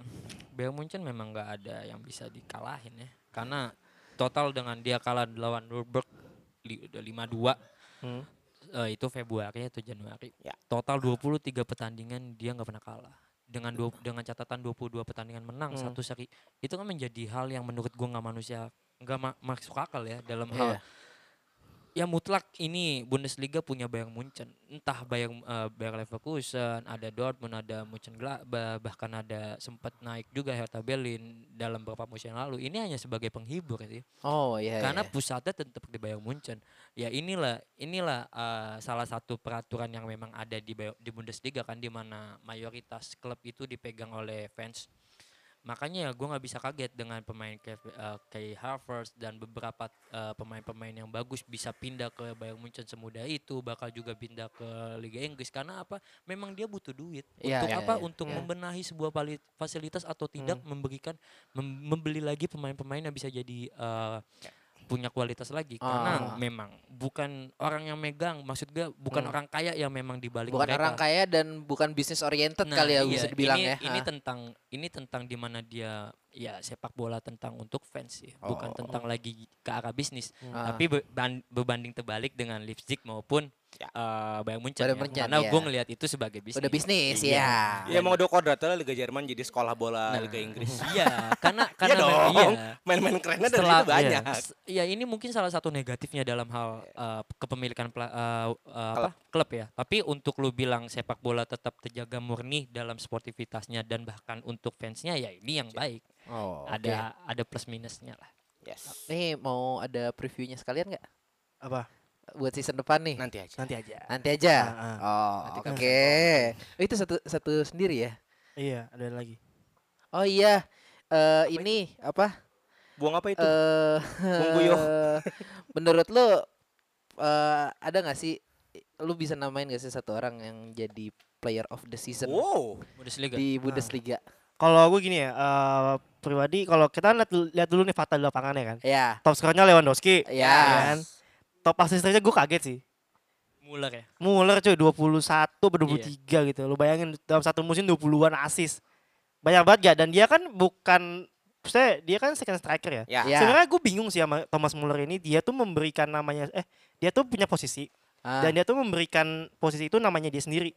Bayern Munchen memang nggak ada yang bisa dikalahin ya. Karena total dengan dia kalah lawan Nürburg li- udah 5-2
Hmm.
eh, itu Februari atau Januari.
Ya.
Total 23 pertandingan dia nggak pernah kalah. Dengan dua, dengan catatan 22 pertandingan menang,
Hmm.
satu seri. Itu kan menjadi hal yang menurut gua nggak manusia nggak ma- masuk akal ya dalam hal
Iya.
ya mutlak ini Bundesliga punya Bayern Munchen entah Bayern eh, Bayer Leverkusen ada Dortmund ada Munchen bahkan ada sempat naik juga Hertha Berlin dalam beberapa musim yang lalu ini hanya sebagai penghibur sih
Oh iya.
karena
iya.
pusatnya tetap di Bayern Munchen ya inilah inilah eh, salah satu peraturan yang memang ada di Bayo- di Bundesliga kan di mana mayoritas klub itu dipegang oleh fans makanya ya gue nggak bisa kaget dengan pemain kayak eh, kayak Havertz dan beberapa eh, pemain-pemain yang bagus bisa pindah ke Bayern Munchen semudah itu bakal juga pindah ke Liga Inggris karena apa memang dia butuh duit
Iya,
untuk
iya,
apa
iya.
untuk
Iya. Hmm.
membenahi sebuah pali- fasilitas atau tidak memberikan mem- membeli lagi pemain-pemain yang bisa jadi eh, punya kualitas lagi karena
Ah. Hmm.
memang bukan orang yang megang maksud gue bukan orang kaya yang memang dibalik
bukan
mereka.
orang kaya dan bukan bisnis oriented
Nah,
kali ya
iya,
bisa dibilang
ini,
ya.
Ini
Ah.
tentang ini tentang di mana dia ya sepak bola tentang untuk fans sih,
Oh,
bukan tentang lagi ke arah bisnis.
Ah.
Tapi beban- berbanding terbalik dengan Leipzig maupun
Ya.
eh, Bayern Munchen,
Bayern
ya.
Munchen,
karena
iya.
gue ngelihat itu sebagai bisnis.
Udah bisnis
Iya.
ya.
Ya mau udah kuadratnya Liga Jerman jadi sekolah bola
Nah.
Liga Inggris. <laughs>
Iya, karena
<laughs>
Iya
karena
dong.
mem- iya.
Main-main kerennya dari
Setelah-
itu banyak.
iya. S- Iya, ini mungkin salah satu negatifnya dalam hal uh, kepemilikan pla- uh, uh, apa? klub ya. Tapi untuk lu bilang sepak bola tetap terjaga murni dalam sportivitasnya dan bahkan untuk fansnya ya ini yang baik.
Oh, oke.
Ada ada plus minusnya lah.
Yes.
Nih mau ada previewnya sekalian nggak
Apa?
buat season depan nih?
Nanti aja.
Nanti aja.
Nanti aja.
Ah, ah.
Oh, oke. Oh, itu satu satu sendiri ya.
Iya, ada lagi.
Oh iya. Eh ini apa?
Buang apa itu?
Eh
Bung Buyo.
<laughs> menurut lu eh ada nggak sih lu bisa namain gak sih satu orang yang jadi player of the season
wow.
Bundesliga.
di Bundesliga?
Kalau gue gini ya, eh, pribadi kalau kita lihat, lihat dulu nih Fata di lapangannya kan.
Ya.
Top skornya Lewandowski.
Ya.
kan? Top asistennya gue kaget sih.
Muller ya. Iya.
Muller cuy 21 atau 23 gitu. Lu bayangin dalam satu musim 20-an asis. Banyak banget gak? Dan dia kan bukan Maksudnya dia kan second striker ya.
Ya.
Ya.
Sebenarnya gue bingung sih sama Thomas Muller ini. Dia tuh memberikan namanya eh dia tuh punya posisi
Ah,
dan dia tuh memberikan posisi itu namanya dia sendiri.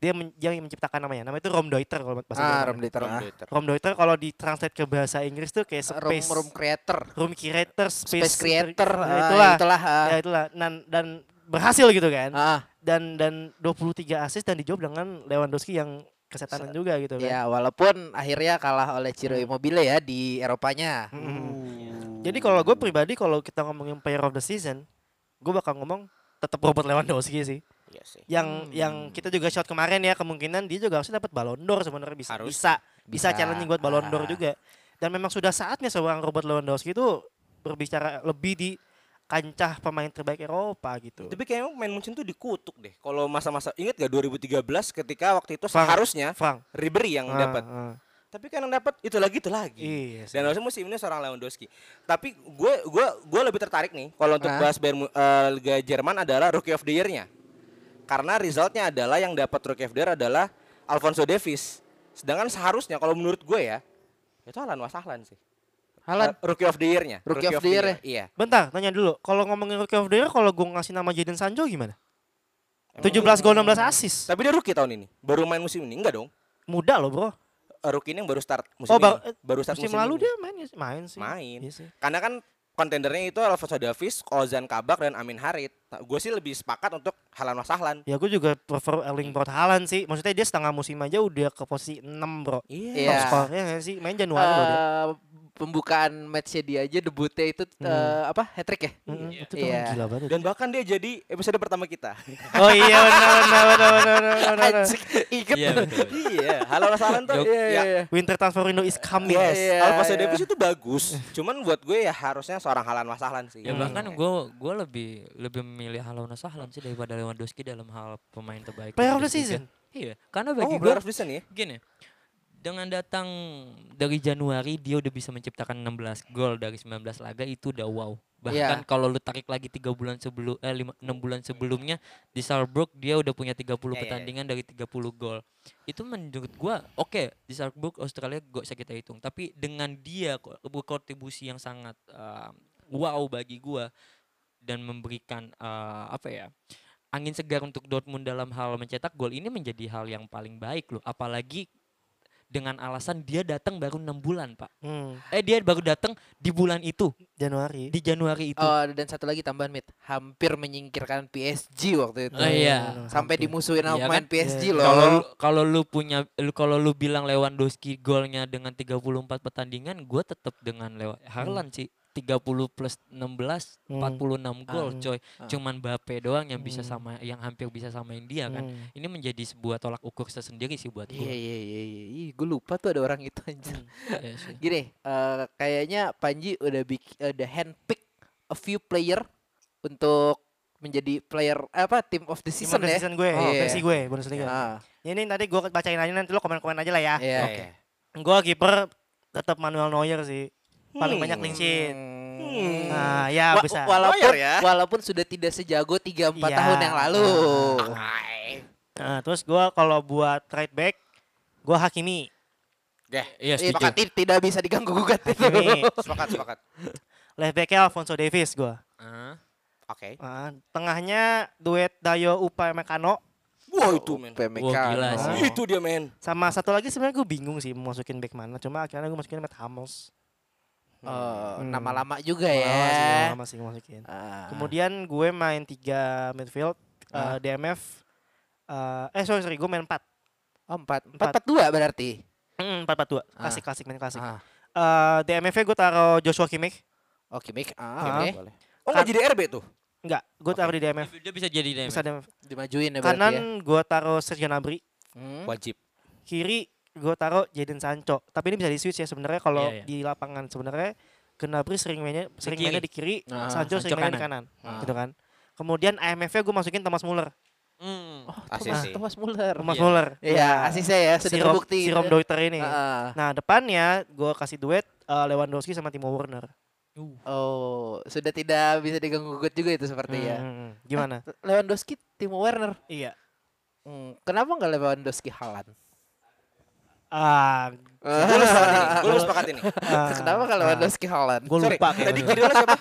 Dia men- dia yang menciptakan namanya. Namanya itu Romdeuter kalau bahasa
ah,
Jerman.
Rom Dieter, ah.
Romdeuter kalau ditranslate ke bahasa Inggris tuh kayak
Rom
space
Rom creator,
room creator space,
space creator,
ya,
ah,
itulah
itulah, ah.
ya itulah dan dan berhasil gitu kan
Ah,
dan dan 23 assist dan dijawab dengan Lewandowski yang kesetanan juga gitu kan Hmm.
ya walaupun akhirnya kalah oleh Ciro Immobile ya di Eropanya.
jadi kalau gue pribadi kalau kita ngomongin player of the season gue bakal ngomong tetap Robert Lewandowski sih
Iya sih.
yang yang kita juga shot kemarin ya kemungkinan dia juga harusnya dapat Ballon d'Or sebenarnya bisa
Harus.
bisa bisa
Bisa.
challenging buat Ballon d'Or
Ah.
juga dan memang sudah saatnya seorang Robert Lewandowski itu berbicara lebih di kancah pemain terbaik Eropa gitu
Tapi kayaknya main Munchen tuh dikutuk deh. Kalau masa-masa inget gak 2013 ketika waktu itu
Frank.
seharusnya
Frank
Ribery yang
ah,
dapat.
ah.
Tapi kan yang dapat itu lagi itu lagi.
Iya sih.
Dan harusnya musim ini seorang Lewandowski. Tapi gue gue gue lebih tertarik nih kalau untuk
Hah?
bahas Bayern Mu- eh, Liga Jerman adalah Rookie of the Year-nya. Karena resultnya adalah yang dapat Rookie of the Year adalah Alfonso Davies. Sedangkan seharusnya kalau menurut gue ya itu Alan Wasahlan sih.
Haaland.
Eh, Rookie of the Year-nya.
Rookie of the Year
Iya.
Bentar, tanya dulu. Kalau ngomongin Rookie of the Year, kalau gue ngasih nama Jadon Sancho gimana? 17 gol 16 asis.
Tapi dia rookie tahun ini. Baru main musim ini enggak dong?
Muda loh bro.
Eh, Rookie ini yang baru start musim
Oh, ba-
ini. Baru start musim,
musim lalu
ini.
dia main ya- main sih.
main.
Iya sih.
Karena kan kontendernya itu Alfonso Davies, Ozan Kabak dan Amin Harit. Gue sih lebih sepakat untuk Halan Wasahlan.
Ya gue juga prefer Erling Braut Haaland sih. Maksudnya dia setengah musim aja udah ke posisi 6 bro.
Iya.
Top skornya nggak sih. Main Januari loh dia.
Eh, pembukaan matchnya dia aja debutnya itu eh, apa hat trick ya?
Mm-mm, Hmm. Itu tuh
Iya.
gila banget.
Dan bahkan dia jadi episode pertama kita.
Oh iya benar benar benar benar benar, benar.
<laughs> Anjing, inget.
Iya Ya. betul.
<laughs> iya, Halan Wasahlan tuh.
Jok-
Iya, iya. iya.
Winter transfer window is coming.
Yes,
Iya,
Alfonso
iya.
Davies itu <laughs> bagus. Cuman buat gue ya harusnya seorang Halan Wasahlan sih. Hmm.
Ya bahkan gue gue lebih lebih memilih Halona Sahlan sih daripada Lewandowski dalam hal pemain terbaik.
Player of the season.
Bundesliga. Iya, karena
Oh,
bagi gue
Blair of Vision ya?
gini. Dengan datang dari Januari dia udah bisa menciptakan 16 gol dari 19 laga itu udah wow. Bahkan kalau lu tarik lagi 3 bulan sebelum eh 5, 6 bulan sebelumnya di Salzburg dia udah punya 30
iya, iya.
pertandingan dari 30 gol. Itu menurut gua oke di Salzburg Australia gak usah kita hitung, tapi dengan dia ko- berkontribusi yang sangat eh, wow bagi gua dan memberikan eh, apa ya angin segar untuk Dortmund dalam hal mencetak gol ini menjadi hal yang paling baik loh apalagi dengan alasan dia datang baru enam bulan pak
Hmm,
eh dia baru datang di bulan itu
Januari.
di Januari itu
Oh, dan satu lagi tambahan mit, hampir menyingkirkan PSG waktu itu.
Oh, iya.
Sampai dimusuhin sama
Iya
pemain
kan?
PSG
Iya.
loh.
kalau lu, kalau lu punya lu- kalau lu bilang Lewandowski golnya dengan 34 pertandingan gue tetap dengan lewat Harlan sih 30 plus 16
Hmm.
46 gol
Ah.
coy cuman Bape doang yang bisa
Hmm.
sama yang hampir bisa samain dia kan
Hmm.
ini menjadi sebuah tolak ukur tersendiri sih buat
Iya
gue
iya iya iya, gue lupa tuh ada orang itu anjir.
Iya sih.
Gini, eh, kayaknya Panji udah bik- udah handpick a few player untuk menjadi player apa team of the
Season,
season
season,
ya.
gue,
Oh, iya.
versi gue, Bundesliga.
Ah,
Ini tadi gue bacain aja nanti lo komen-komen aja lah ya.
iya.
Oke.
Gue kiper tetap Manuel Neuer sih. Paling
Hmm.
banyak clean sheet.
Hmm.
Nah, ya
Wa-
besar.
walaupun
Lawyer ya.
walaupun sudah tidak sejago 3 4
Iya.
tahun yang lalu.
Nah, terus gue kalau buat right back, gue Hakimi.
Oke.
Iya
Itu
setuju.
ti- tidak bisa diganggu gugat itu.
Hakimi.
Sepakat, sepakat.
Left backnya Alfonso Davis gue.
Ah.
Oke.
Nah, tengahnya duet Dayo Upamecano
Wah, itu men.
PMK.
Wah, gila sih.
Oh.
Itu dia men.
sama satu lagi sebenarnya gue bingung sih mau masukin back mana. Cuma akhirnya gue masukin Matt Hummels.
Oh,
Hmm.
nama lama juga
Lama sih,
ya.
lama sih gue masukin.
Ah.
Kemudian gue main tiga midfield, eh,
Ah.
DMF, eh, eh sorry sorry gue main empat,
Oh, empat, empat,
Empat.
empat dua berarti.
Mm, empat empat dua,
Ah.
klasik klasik main klasik.
Ah.
Eh, DMF-nya gue taruh Joshua Kimmich,
Oke, Mik.
Ah.
Ah, oke.
Oh, nggak jadi RB tuh.
enggak, gue taruh di DMF.
Dia bisa jadi DM.
Bisa DMF.
Dimajuin ya berarti ya.
Kanan gue taruh Sergio Gnabry,
Hmm.
Wajib.
kiri gue taruh Jadon Sancho. Tapi ini bisa di switch ya sebenarnya kalau
Iya, iya.
di lapangan sebenarnya Gnabry sering mainnya sering
kiri.
mainnya di kiri,
Ah,
Sancho,
Sancho
sering mainnya di kanan, gitu kan. Kemudian IMF-nya gue masukin Thomas Muller,
Oh, Thomas,
ACC.
Thomas Muller.
Thomas
Iya.
Muller. Nah,
Iya, asisnya ya
Si
sudah
Rom-
terbukti.
si Rom Deuter ini.
Ah.
Nah depannya gue kasih duet eh, Lewandowski sama Timo Werner.
Oh, sudah tidak bisa diganggu gugat juga itu sepertinya.
Hmm, Gimana?
Lewandowski, Timo Werner.
Eh,
Iya.
Hmm, kenapa nggak Lewandowski Haaland?
Ah,
Gue lu sepakat ini. Gue lu sepakat ini.
ah,
kenapa nggak Lewandowski Haaland?
gue
Sorry,
lupa
<laughs>
Tadi
kayaknya.
kiri lu siapa?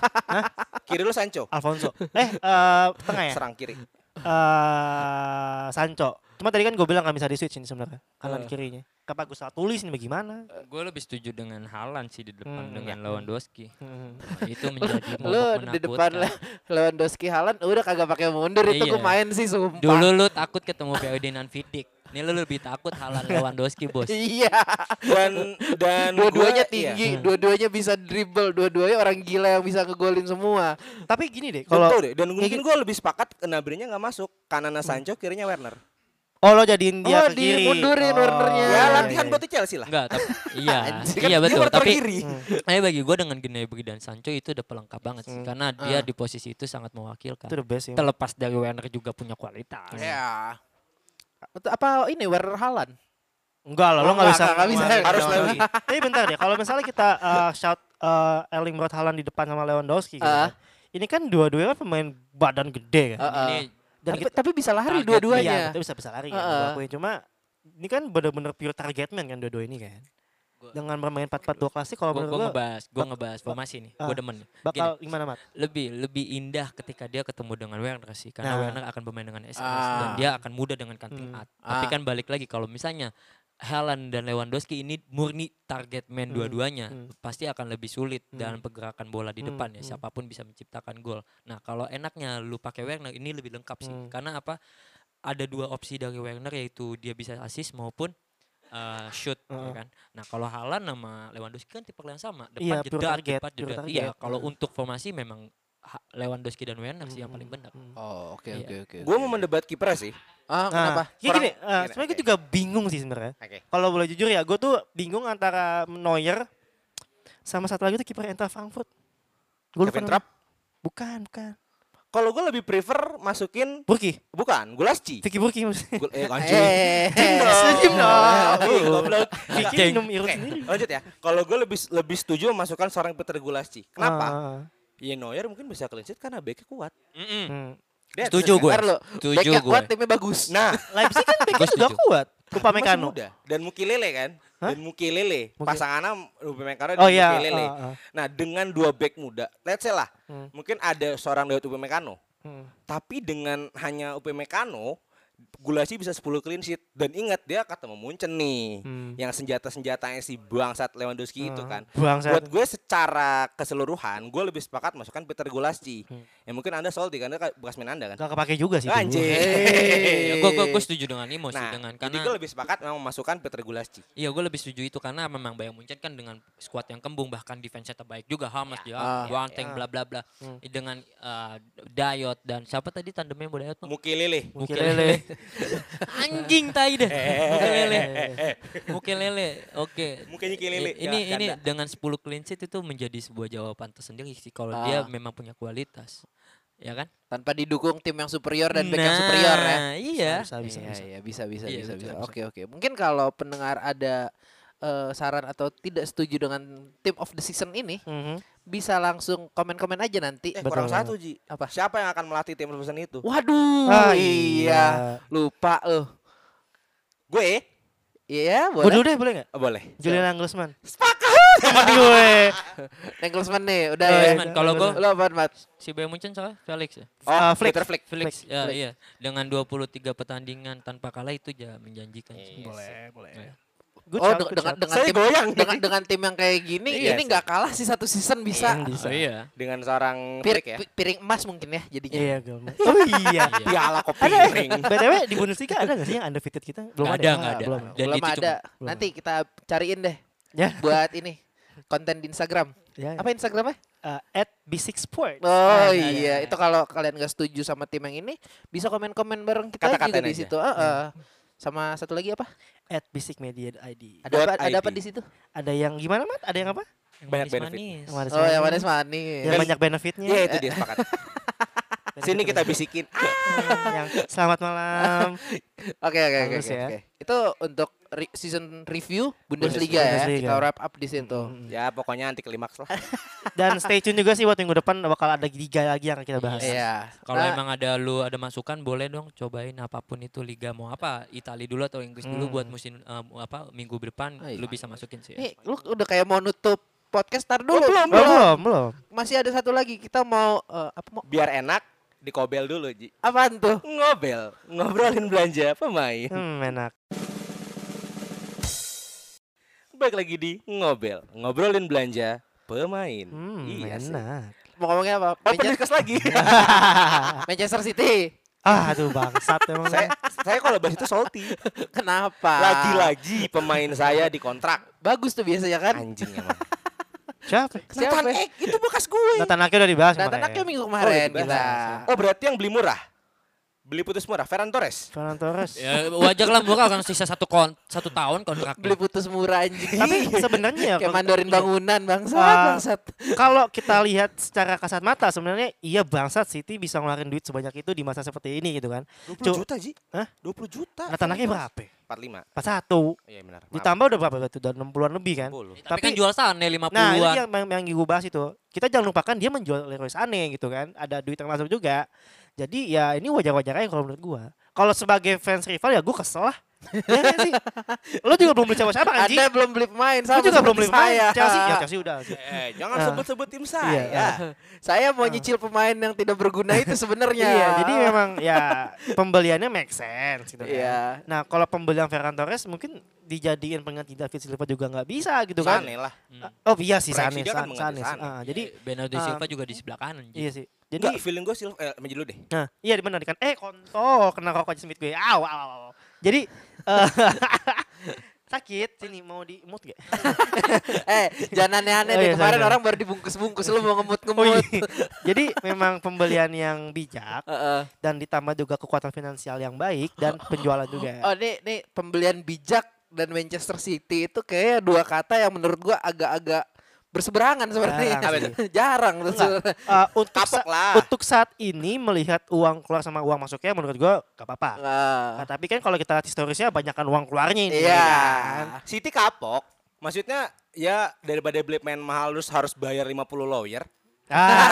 Kiri lu Sancho.
Alfonso. Eh eh, tengah ya.
Serang kiri.
Eh, Sancho. Cuma tadi kan gue bilang nggak bisa di switch ini sebenarnya kanan
Eh.
kirinya. Kenapa gue salah tulis ini bagaimana?
Gue lebih setuju dengan Halan sih di depan
Hmm,
dengan Lewandowski. Nah,
Hmm. <laughs>
Itu menjadi
Lu
momok
di depan
menakutkan.
Le- Lewandowski Haaland udah kagak pakai mundur itu
Iya.
gue main sih sumpah.
Dulu lu takut ketemu Ferdinand Vidic. Ini lu lebih takut Halan Lewandowski, Bos.
Iya,
<laughs> Dan dan gua-
dua-duanya
iya.
tinggi, dua-duanya bisa dribble, dua-duanya orang gila yang bisa ngegolin semua.
Tapi gini deh,
Kalau
kalau
deh, dan mungkin gue lebih sepakat Nabrinya nggak masuk, kanannya
Hmm.
Sancho, kirinya Werner.
oh lo jadiin dia ke
Oh,
kiri.
dimundurin
iya,
Wernernya.
ya
iya,
latihan
iya.
buat di Chelsea lah.
Enggak, tapi
<laughs>
iya,
Anjing,
kan
iya betul.
kan? Dia
Tapi
kiri.
eh bagi gue dengan Gnabry dan Sancho itu udah pelengkap banget sih
Hmm.
karena dia di posisi itu sangat mewakilkan.
Itu the best ya.
Terlepas dari
Iya.
Iya.
Werner juga punya kualitas.
Ya. Apa ini Werner Haaland?
Enggak lah, lo
Oh,
nggak
nggak,
bisa.
nggak bisa.
ngeluarin
Harus
Lewi.
Lewi.
Tapi bentar deh, kalau misalnya kita eh, shout eh, Erling Brot Haaland di depan sama Lewandowski, gitu kan.
Ah.
ini kan dua-duanya kan pemain badan gede kan.
Heeh.
Ini
Dan
tapi,
kita-
tapi bisa lari
Iya,
target
dua-duanya.
tapi bisa bisa lari kan.
Heeh.
gua akuin. Cuma ini kan bener-bener pure target man kan dua-dua ini kan.
Gua-
Dengan bermain 4-4-2 klasik kalau
gue
menurut gue
ngebahas, gue ngebahas formasi nih. Gue
Ah.
demen.
bakal gimana Mat?
lebih lebih indah ketika dia ketemu dengan Werner sih karena
Nah.
Werner akan bermain dengan SS dan
Ah.
dia akan muda dengan kanting
Hmm.
at. Tapi kan balik lagi kalau misalnya Helen dan Lewandowski ini murni target man
Hmm,
dua-duanya
hmm.
pasti akan lebih sulit
Hmm.
dalam pergerakan bola di
Hmm,
depan ya
hmm.
siapapun bisa menciptakan gol. Nah, kalau enaknya lu pakai Werner ini lebih lengkap sih
Hmm.
karena apa ada dua opsi dari Werner yaitu dia bisa assist maupun eh, shoot ya
Heeh.
kan. Nah, kalau Haaland sama Lewandowski kan tipe yang sama,
Iya,
depan
pure
jeda,
target,
depan
pure
jeda.
target.
Iya, kalau
Heeh.
untuk formasi memang Ha- Lewandowski dan Werner sih yang paling benar.
Oh, oke
Iya.
oke oke.
Gue mau mendebat kiper sih.
Ah, kenapa?
Nah, ya
Oh, Kurang-
gini, eh,
gimana?
sebenarnya gue
Oke.
juga bingung sih sebenarnya.
Oke.
Kalau boleh jujur ya, gue tuh bingung antara Neuer sama satu lagi tuh kiper Eintracht Frankfurt. Gue
Kevin Trapp.
Bukan, bukan.
Kalau gue lebih prefer masukin
Burki,
bukan
<laughs>
Gulasci.
Vicky Burki
<laughs>
maksudnya.
Gul- eh, anjing.
Eh,
Senyum dong.
Ih, goblok.
Vicky
Ceng.
minum irut
Oke,
sendiri.
lanjut ya. Kalau gue lebih lebih setuju memasukkan seorang Peter Gulasci.
Ah.
Kenapa? Ya Neuer mungkin bisa clean sheet karena backnya kuat.
Ah, hmm.
That's
Setuju
it.
gue.
Ntar lo,
Setuju
backnya
gue.
kuat, timnya bagus.
Nah,
Leipzig
<laughs>
kan backnya
Gua
juga
setuju.
kuat.
masih
Upamecano.
muda dan Mukilele kan?
Hah?
Dan Mukilele.
Mukil-
Pasangannya Upamecano dan
Oh iya.
Mukilele.
ah, ah.
Nah, dengan dua back muda, let's say lah,
Hmm.
mungkin ada seorang lewat Upamecano.
Hmm.
Tapi dengan hanya Upamecano, Gulasi bisa 10 clean sheet dan ingat dia ketemu Munchen nih.
Hmm.
Yang senjata-senjatanya si bangsat Lewandowski itu
Ah,
kan.
Bangsa.
Buat gue secara keseluruhan, gue lebih sepakat masukkan Peter Gulasci.
Hmm.
Ya mungkin Anda salty karena kan bekas main Anda kan.
Gak kepake juga sih. dulu.
Anjing. <laughs>
gue gue gue setuju dengan Imo sih
Nah,
dengan
jadi
karena
gue lebih sepakat memang memasukkan Peter Gulasci.
iya gue lebih setuju itu karena memang Bayang Munchen kan dengan skuad yang kembung bahkan defense-nya terbaik juga Hamas
Iya.
dia
Ah.
Wanteng bla bla bla
Hmm.
dengan eh, Dayot dan siapa tadi tandemnya Bu Dayot Bang?
Mukilele.
Mukelele.
<laughs> anjing tai
<laughs>
deh
eh,
Mukelele
Eh, eh,
Mukelele oke
Mukanya kilele.
I- ini
Ya,
ini
canda.
dengan 10 clean sheet itu menjadi sebuah jawaban tersendiri sih kalau
Ah.
dia memang punya kualitas ya kan
Tanpa didukung tim yang superior dan back yang superior ya.
Nah, iya
Bisa, bisa,
Iya,
bisa.
iya, bisa bisa
Iya,
bisa
betul,
bisa.
bisa.
Oke oke. Mungkin kalau pendengar ada eh, saran atau tidak setuju dengan team of the season ini,
Mhm.
bisa langsung komen-komen aja nanti.
Eh,
Betul
kurang
banget.
satu, Ji.
Apa?
Siapa yang akan melatih tim Ferguson itu?
Waduh.
Ah,
iya. Lupa loh.
Gue?
Iya,
Gue dulu
boleh.
deh boleh gak?
Oh, boleh.
Julian Nagelsmann. Sepakat. Sama gue.
Nagelsmann nih, udah
Iya,
ya.
Nagelsmann, kalau gua-
lo apa, Mat?
si Bayern Munchen soalnya Felix ya
Ah, Flick.
Oh, Peter Flick.
Felix, ya
Felix.
iya dengan 23 pertandingan tanpa kalah itu ya menjanjikan sih.
Good
oh,
shout,
de-
good
dengan
shout.
dengan
Saya
tim
goyang.
dengan dengan tim yang kayak gini,
Iya,
ini
sih.
nggak kalah sih satu season bisa.
Oh, iya.
Dengan seorang
Pir-
Flick ya.
pi- piring emas mungkin ya jadinya.
Iya, gue. Oh iya.
Piala kopi ring.
BTW di Bundesliga ada gak sih yang undefeated kita? Belum
Nggak
ada.
ada, nggak
Ah,
ada.
Belum.
Dan
Belum
itu cuma-
ada. Nanti kita cariin deh
Ya.
buat ini konten di Instagram.
Ya.
Apa Instagramnya?
Eh, At B6 Sports. Nah, Ada,
Oh iya,
ada.
itu kalau kalian nggak setuju sama tim yang ini, bisa komen-komen bareng kita juga di
Kata-katain aja.
situ. Heeh. Sama satu lagi apa?
At B6 Media ID.
Ada
Dot
apa? Ada
ID.
apa di situ?
Ada yang gimana mat? Ada yang apa?
Yang
Banyak
manis-manis.
Yang ada
Oh, yang
semuanya.
manis manis.
Yang banyak
Iya,
benefitnya.
Ya, itu dia
<laughs>
sepakat. Sini kita bisikin. Ah.
yang selamat malam.
Oke oke oke.
Bagus
oke,
ya.
oke. Itu untuk re- season review Bundesliga, ya.
Bundesliga.
Kita wrap up di situ.
Ya, pokoknya anti klimaks lah.
Dan stay tune juga sih buat minggu depan bakal ada tiga lagi yang akan kita bahas.
Iya.
Kalau
Nah,
emang ada lu ada masukan boleh dong cobain apapun itu liga mau apa Itali dulu atau Inggris dulu buat musim eh, apa minggu depan
Hmm. Ah, iya.
lu bisa masukin sih. ya.
nih lu udah kayak mau nutup podcast tar dulu.
Oh, belum, belum, belum.
Masih ada satu lagi. Kita mau eh, apa mau
Biar enak dikobel dulu, Ji.
apaan tuh?
Ngobel, ngobrolin belanja pemain.
Hmm, enak.
Baik lagi di ngobel, ngobrolin belanja pemain.
Hmm, Iya.
iya sih.
enak.
Mau ngomongnya apa?
Open
Manchester,
discuss lagi.
Manchester
<laughs>
City.
Ah, aduh bangsat emang.
saya <laughs> saya kalau bahas itu salty.
Kenapa?
Lagi-lagi pemain saya dikontrak.
Bagus tuh biasanya kan.
Anjing
<laughs>
emang.
Siapa?
Siapa? ya?
Ek, itu bekas gue.
Nathan Ake udah dibahas
Datang
kemarin.
anaknya minggu kemarin
Oh, iya,
kita.
Oh, berarti yang beli murah. Beli putus murah, Ferran Torres.
Fernando Torres.
Ya, wajar lah murah kan sisa satu kon satu tahun kontraknya.
Beli putus murah anjing. <laughs>
Tapi sebenarnya ya
kayak
kalau-
mandarin bangunan bangsat
Ah.
bangsat.
kalau kita lihat secara kasat mata sebenarnya iya bangsat City bisa ngeluarin duit sebanyak itu di masa seperti ini gitu kan.
20
Cuk-
juta, Ji.
Hah?
20 juta.
Nathan Ake berapa?
45.
satu
Iya benar. Maaf.
ditambah udah berapa tuh udah 60-an lebih kan
10.
Tapi, kan
Tapi-
jual Sane 50-an.
nah itu yang yang, yang gue bahas itu kita jangan lupakan dia menjual Leroy Sané gitu kan ada duit yang masuk juga jadi ya ini wajar-wajar aja kalau menurut gue kalau sebagai fans rival ya gue kesel lah ya, kan sih? lo juga belum beli
<laughs>
siapa-siapa kan sih
Anda belum beli pemain
lo
sama
juga belum beli
seperti
saya.
saya. Iya,
Chelsea ya Chelsea udah sih.
Eh, jangan
Ah.
sebut-sebut tim saya.
Iya.
Saya mau nyicil pemain yang tidak berguna itu sebenarnya.
Iya, jadi memang ya pembeliannya make sense gitu kan.
Iya.
Nah, kalau pembelian Ferran Torres mungkin dijadiin pengganti David Silva juga nggak bisa gitu kan.
Sane lah.
Oh iya sih Sane,
Presiden kan
Sane,
mengganti
Sane.
Sane.
Ah, jadi
Iya.
Bernardo
Ah.
Silva juga di sebelah kanan. Ji.
iya sih. Jadi
Enggak, feeling gue Silva eh Menji dulu deh.
nah, iya benar kan. Eh, kontol kena rokok di semit gue. Aw, aw, aw, aw. Jadi eh, <laughs> sakit sini mau di mood gak?
<laughs> eh, jangan aneh-aneh
Oh
deh.
iya, Oh,
Kemarin
sorry,
orang baru dibungkus-bungkus lu mau ngemut-ngemut.
iya. Jadi memang pembelian yang bijak
<laughs> Heeh.
dan ditambah juga kekuatan finansial yang baik dan penjualan juga.
<laughs> Oh nih nih pembelian bijak dan Manchester City itu kayak dua kata yang menurut gua agak-agak berseberangan sebenarnya.
Jarang
Jarang tuh.
Enggak. Eh, untuk sa-
iya. Kapok lah.
untuk saat ini melihat uang keluar sama uang masuknya menurut gua gak apa-apa. Nah, tapi kan kalau kita lihat historisnya banyakkan uang keluarnya ini.
Iya.
kan.
City kapok. Maksudnya ya daripada beli main mahal terus harus bayar 50 lawyer,
Ah,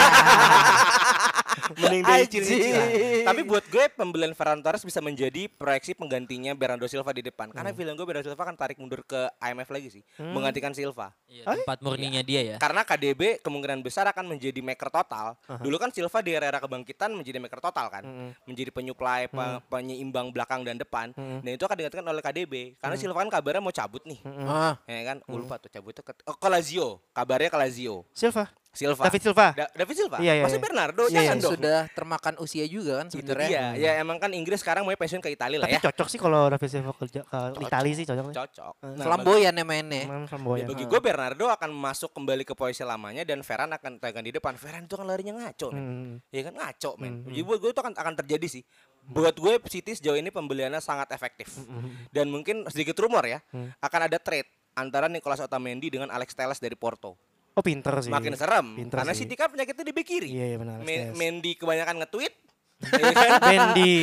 <laughs> mending
Iya.
dari
Anjing.
cicilan. Iya. Tapi buat gue pembelian Ferran Torres bisa menjadi proyeksi penggantinya Bernardo Silva di depan. Karena
Hmm.
feeling gue Bernardo Silva akan tarik mundur ke IMF lagi sih, menggantikan Silva.
Iya, tempat murninya dia ya.
Karena KDB kemungkinan besar akan menjadi maker total. Dulu kan Silva di era-era kebangkitan menjadi maker total kan. Menjadi penyuplai, pe- penyeimbang belakang dan depan. Dan itu akan digantikan oleh KDB. Karena Silva kan kabarnya mau cabut nih.
Ah.
Ya kan? Gue lupa tuh cabutnya ke oh, ke Lazio. Kabarnya ke Lazio.
Silva.
Silva.
David Silva.
Da- David Silva.
Iya, iya,
Masih
iya.
Oh,
Bernardo,
Iya,
jangan dong.
sudah termakan usia juga kan
Itu
sebenarnya.
dia. Ya emang kan Inggris sekarang mau pensiun ke Italia lah
Tapi
ya.
cocok sih kalau David Silva ke, ke Italia sih cocok. sih.
Cocok. Nah,
Flamboyan ya
Iya.
mainnya.
Memang
bagi-
flamboyan.
Bagi gue Bernardo akan masuk kembali ke posisi lamanya dan Ferran akan tegang di depan. Ferran itu kan larinya ngaco nih.
Hmm.
Ya kan ngaco men.
Mhm.
Jadi buat gue itu akan akan terjadi sih. Buat gue City sejauh ini pembeliannya sangat efektif.
Mhm,
Dan mungkin sedikit rumor ya,
Hmm.
akan ada trade antara Nicolas Otamendi dengan Alex Telles dari Porto.
Oh pinter sih.
Makin serem
Pinter
karena
sih.
City kan penyakitnya di bek kiri.
Iya, iya, benar, Alex
Me-
Telles.
Mendy kebanyakan
<laughs>
nge-tweet. ya kan?
Bendy.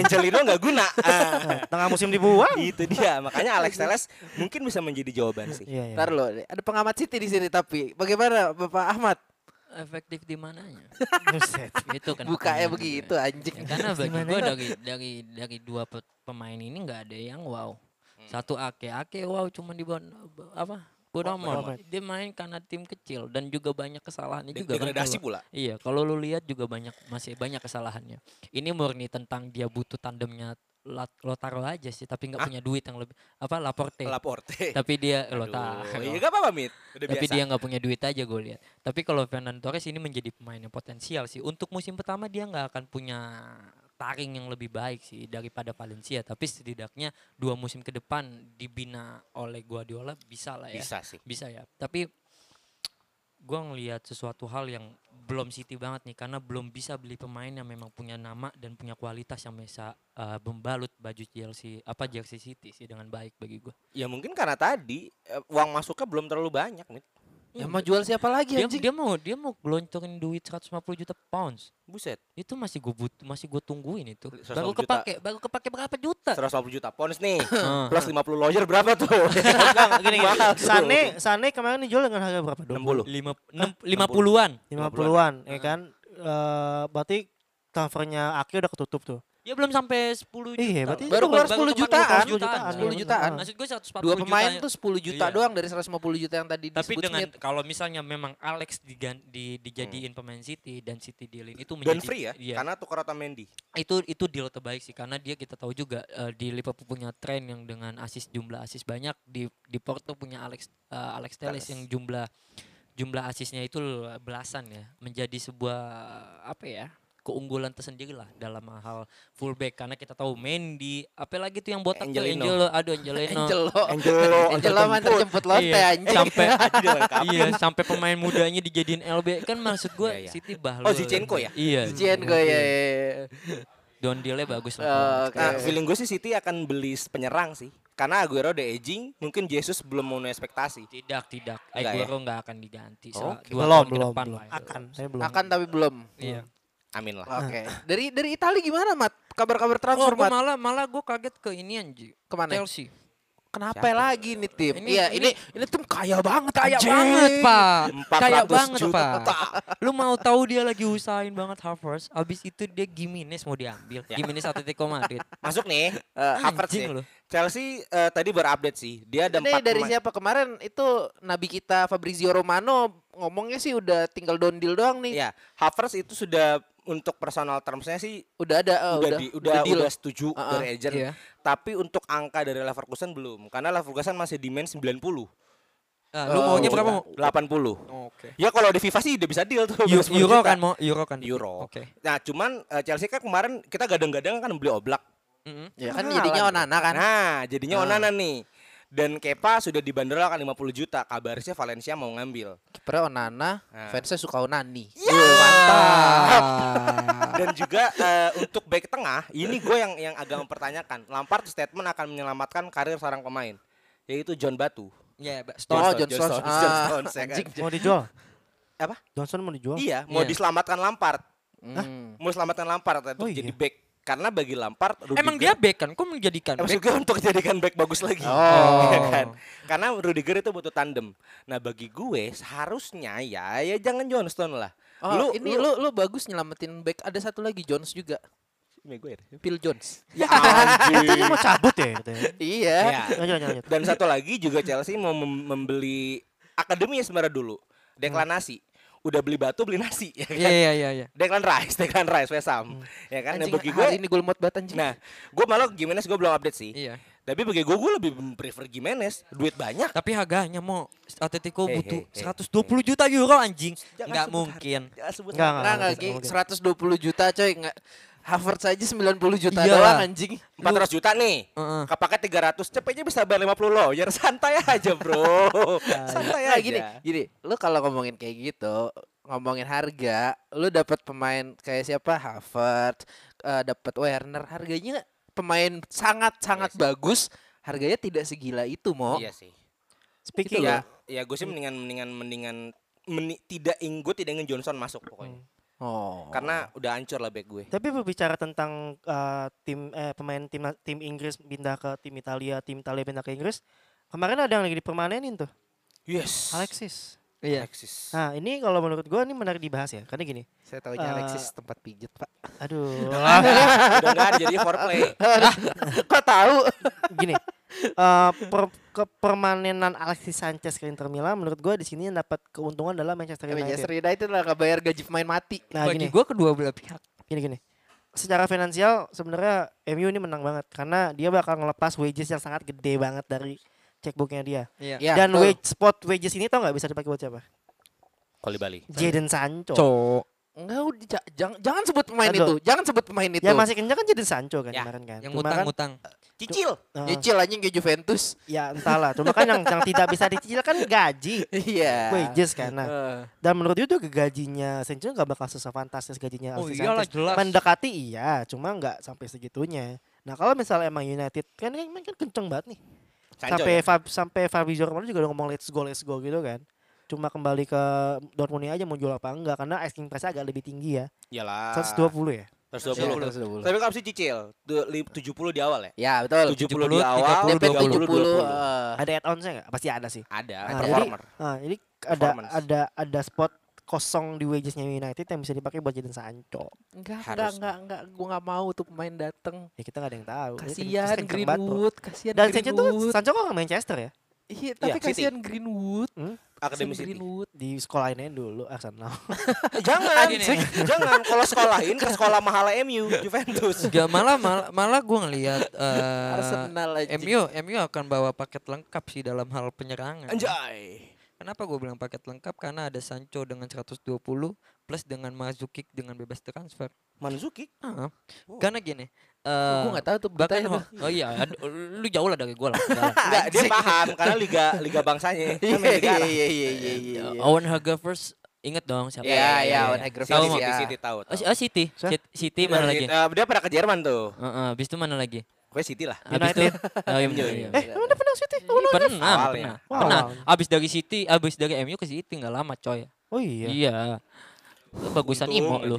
Angelino nggak guna. Ah,
Tengah musim dibuang.
itu dia. Makanya
<laughs>
Alex Telles mungkin bisa menjadi jawaban sih.
Iya, iya.
Ntar lo, ada pengamat City di sini tapi bagaimana Bapak Ahmad?
Efektif di mananya?
Buset.
<laughs> Itu kan.
Bukanya
pertanyaan
begitu
juga.
anjing.
Ya, karena bagi gue dari dari dari dua pe- pemain ini nggak ada yang wow. Satu Ake Ake wow cuma di bon, apa? Bonomor. Dia main karena tim kecil dan juga banyak kesalahannya
De-
juga kan
degradasi
kalau-
pula.
Iya, kalau lu lihat juga banyak masih banyak kesalahannya. Ini murni tentang dia butuh tandemnya Lat- Lotaro aja sih, tapi nggak punya duit yang lebih apa Laporte. Eh,
Laporte.
Tapi dia
Aduh,
Lotaro.
Iya gak apa-apa Mit. Udah
Tapi
biasa.
dia nggak punya duit aja gue lihat. Tapi kalau Fernando Torres ini menjadi pemain yang potensial sih. Untuk musim pertama dia nggak akan punya taring yang lebih baik sih daripada Valencia. Tapi setidaknya dua musim ke depan dibina oleh Guardiola bisa lah ya.
bisa sih.
Bisa ya. Tapi gue ngelihat sesuatu hal yang belum City banget nih karena belum bisa beli pemain yang memang punya nama dan punya kualitas yang bisa eh, membalut baju Chelsea apa jersey City sih dengan baik bagi gue.
Ya mungkin karena tadi eh, uang masuknya belum terlalu banyak Mit.
Ya mau jual siapa lagi
Iya. Dia,
anjing?
dia mau dia mau gelontorin duit 150 juta pounds.
Buset.
itu masih gue but masih gue tungguin itu
150
baru
juta.
kepake baru kepake berapa juta
150 juta pounds nih.
<laughs> Heeh.
Plus 50 lawyer berapa tuh?
Gini, gini.
Mahal tuh.
Sane, Sane kemarin dijual dengan harga berapa?
<laughs> 60.
lima <laughs> enam lima puluhan
50-an, ya kan? Eh, berarti transfernya Aki udah ketutup tuh.
ya belum sampai sepuluh juta
Iya, berarti
Baru keluar 10 jutaan.
10 jutaan,
10 jutaan.
maksud gue 140
kan. Dua pemain
juta-
tuh 10 juta
Iya.
doang dari 150 juta yang tadi
tapi
disebut
dengan
Smith.
kalau misalnya memang Alex digan, di, dijadiin pemain City dan City dealing itu menjadi
Hmm. Dan free ya,
iya.
karena tukar Otamendi.
itu itu deal terbaik sih karena dia kita tahu juga eh, di Liverpool punya tren yang dengan asis jumlah asis banyak di di Porto punya Alex eh, Alex Telles yang jumlah jumlah asisnya itu belasan ya menjadi sebuah apa ya keunggulan tersendiri lah dalam hal fullback karena kita tahu Mendy apalagi tuh yang botak tuh
Angelino.
Angelo aduh Angelino
<laughs>
Angelo.
Angelo,
Angelo mantan jemput lonte
Iya,
anjing.
sampai
<laughs>
iya sampai pemain mudanya dijadiin LB kan maksud gue
Iya, iya.
City bahlul
Oh, Zinchenko ya?
iya
Cucian gue ya. ya, ya.
Dondilnya bagus lah
Eh,
kalau
oke.
Nah, feeling gue sih City akan beli penyerang sih. Karena Aguero udah aging, mungkin Jesus belum memenuhi ekspektasi.
Tidak, tidak.
Enggak ya?
Aguero nggak akan diganti. sel-
Oke.
Dua
belum,
tahun ke
belum,
depan
belum.
lah itu.
Akan, saya belum.
Akan tapi belum.
Iya.
Amin lah.
Oke. Dari dari Italia gimana, Mat? Kabar-kabar transfer,
Oh, gua
Mat?
malah malah gue kaget ke ini anjing.
Kemana?
Chelsea.
Kenapa lagi nih tim?
ya? Ini-
Iya, ini,
ini-
ini tim kaya banget,
Kaya
anjing.
banget, Pak. Kaya
400
banget,
juta.
Pak. Lu mau tahu dia lagi usahain banget Havertz, abis itu dia Gimenez mau diambil. Gimenez Atletico Madrid.
Masuk nih.
Eh,
Havertz
anjing
nih.
lu.
Chelsea eh, tadi berupdate sih. Dia ada
Ini
empat
dari
pemain.
siapa kemarin itu nabi kita Fabrizio Romano ngomongnya sih udah tinggal dondil doang
Iya.
nih.
Ya, Havertz itu sudah untuk personal termsnya sih
Udah ada eh,
udah di- udah,
deal.
udah setuju
Ah, ah,
dari agent.
iya.
Tapi untuk angka dari Leverkusen belum karena Leverkusen masih demand 90.
Ah,
Eh,
lu maunya berapa mau?
80.
Oh.
Oke.
Ya kalau di FIFA sih udah bisa deal tuh.
Eu-
10
Euro
juta.
kan mau Euro kan.
Euro.
Oke.
Nah, cuman eh, Chelsea kan kemarin kita gadang-gadang kan beli Oblak.
Mm-mm.
Ya kan
Nah,
jadinya
kan.
Onana kan.
Nah, jadinya Onana nih. Dan Kepa sudah dibanderol akan 50 juta. Kabarnya Valencia mau ngambil.
Kipernya Onana,
Nah.
fansnya suka Onani.
Iya.
<laughs> Dan juga eh, untuk back tengah, ini gue yang yang agak mempertanyakan. Lampard statement akan menyelamatkan karir seorang pemain, yaitu John Batu.
Ya,
Oh,
Mbak. Stone.
John Stones.
Stones, John
Ah,
Stones, ya kan?
anjing.
Mau dijual?
Apa?
Johnson mau dijual?
Iya, mau
Iya.
diselamatkan Lampard.
Hmm.
Mau diselamatkan Lampard untuk
Oh, iya.
jadi back. Karena bagi Lampard, Rudiger,
Emang dia back kan? Kok menjadikan
Eh,
back?
maksud gue untuk jadikan back bagus lagi.
Oh.
Iya kan? Karena Rudiger itu butuh tandem. Nah bagi gue seharusnya ya, ya jangan John Stone lah.
Oh,
lu,
ini
lu,
lu lu bagus nyelamatin back. Ada satu lagi Jones juga.
Maguire.
Phil Jones.
Ya anjing.
Katanya mau cabut ya katanya.
iya.
Ya.
Lanjut, lanjut, lanjut.
<laughs> Dan satu lagi juga Chelsea mau mem- membeli akademi sebenarnya dulu. Declan Nasi. Udah beli batu beli nasi <laughs> ya kan.
Iya, iya, iya, iya.
Declan Rice, Declan Rice West Ham. Ya kan. Nah,
Anjing,
bagi gue
hari ini gue lemot banget anjing.
Nah, gue malah Gimenez gue belum update sih.
Iya.
Tapi bagi gue gue lebih prefer Gimenez, duit banyak.
Tapi harganya mau Atletico
Hei,
butuh
hei, hei.
120 juta euro anjing.
Jangan
Enggak
sebut
mungkin.
harga. Jangan sebut
Nggak,
harga.
Enggak enggak
Mungkin.
Nah, Ki. 120 juta coy enggak Harvard saja 90 juta
Iya.
doang anjing.
400 juta nih.
Heeh.
Kepake 300, cepetnya bisa bayar 50 lawyer. <laughs> Santai aja, Bro. Santai
Nah,
aja.
gini, gini. Lu kalau ngomongin kayak gitu, ngomongin harga, lu dapat pemain kayak siapa? Harvard, eh dapat Werner, harganya pemain sangat-sangat
Iya sih.
bagus, harganya tidak segila itu, Mo. Gitu
Iya sih.
Speaking
ya, ya gue sih mendingan mendingan mendingan meni- tidak ing gue tidak ingin Johnson masuk pokoknya.
Oh.
Karena udah hancur lah back gue.
Tapi berbicara tentang eh, tim eh, pemain tim tim Inggris pindah ke tim Italia, tim Italia pindah ke Inggris. Kemarin ada yang lagi dipermanenin tuh,
Yes. Ya.
Alexis.
Iya.
Alexis.
Nah, ini kalau menurut gua ini menarik dibahas ya. Karena gini,
saya tahunya
Eh,
Alexis tempat pijet, Pak.
aduh, ah,
<laughs> udah enggak ada jadi foreplay.
Kok tahu?
gini. eh, per- kepermanenan Alexis Sanchez ke Inter Milan menurut gua di sini yang dapat keuntungan adalah Manchester
Manchester
United.
United lah nggak bayar gaji pemain mati.
Nah,
Bagi
gini.
gue kedua belah pihak.
gini gini secara finansial sebenarnya MU ini menang banget karena dia bakal ngelepas wages yang sangat gede banget dari checkbooknya dia
Iya.
Ya,
dan
betul.
wage spot wages ini tau nggak bisa dipakai buat siapa
Koli Bali.
Jadon Sancho
Cok.
Enggak, Eh, udah, ja- jangan, jangan sebut pemain
Aduh.
itu. Jangan sebut pemain itu.
ya masih kencang kan Jadon Sancho kan
Ya,
kemarin kan
Yang
Cuma kan,
ngutang-ngutang.
Cicil.
eh,
Nyicil anjing ke Juventus. <laughs>
ya entahlah cuma kan yang, yang tidak bisa dicicil kan gaji
Iya.
wages kan nah
Eh,
dan menurut itu gajinya Sancho nggak bakal sefantastis gajinya
Oh
Alexis
iyalah
Sanchez
jelas.
mendekati iya cuma nggak sampai segitunya nah kalau misalnya emang United kan kan, kan kenceng banget nih
Sancho
sampai
ya?
Fab- sampai Fabrizio Romano juga udah ngomong let's go let's go gitu kan cuma kembali ke Dortmund aja mau jual apa enggak karena asking price agak lebih tinggi ya
Iyalah.
120 ya
120.
120.
Tapi kalau sih Cicil Du- li- 70 di awal ya?
Ya betul.
70,
70,
di awal,
30,
30,
70,
20.
eh,
ada add onnya enggak pasti ada sih
Ada,
Nah, jadi,
performer.
nah, jadi ada
Performance.
ada ada spot kosong di wagesnya United yang bisa dipakai buat jadiin Sancho
Enggak, enggak,
Harus.
enggak, enggak. Gue enggak mau tuh pemain dateng.
ya kita nggak ada yang tahu Jadi kan- terus
Kasihan
kenceng banget, bro.
Greenwood, kasihan
dan Sancho tuh
Greenwood.
Sancho kok orang Manchester ya
Iya, tapi
Iya, City.
kasihan Greenwood. Kasihan
Akademi City.
Greenwood.
di sekolahinnya dulu ah, Arsenal
Jangan,
Gini.
Cik. jangan. Kalau sekolahin ke sekolah mahal MU, Juventus.
Gak malah malah, malah gue ngelihat eh,
Arsenal aja.
MU MU akan bawa paket lengkap sih dalam hal penyerangan.
Anjay.
Kenapa gue bilang paket lengkap? Karena ada Sancho dengan 120 plus dengan Mazuki dengan bebas transfer.
Manzuki.
Ah, Karena gini.
Gue
eh,
enggak tahu tuh
bahkan
beritanya tuh.
Ho- oh iya aduh, lu jauh lah dari gue
<laughs>
lah. Enggak lah.
Enggak, dia paham karena liga liga bangsanya. Kan main liga Arab.
iya, iya, iya, iya.
Eh, Owen Hagerford inget dong siapa?
Iya, iya, Owen Iya,
iya.
Hagerford,
Tahu
City,
mau-
City,
ya.
City tahu.
Oh,
tahu.
si- oh, City, City, City mana lagi?
Eh, dia pernah ke Jerman tuh.
Heeh, habis itu mana lagi?
Gue City lah.
Habis itu oh, iya, bener, iya.
eh emang udah pernah City oh,
pernah, pernah,
awalnya.
pernah.
Awalnya.
Abis dari City, abis dari MU ke City nggak lama coy.
oh iya
Iya. Lu bagusan
Untung
Imo
aja.
lu.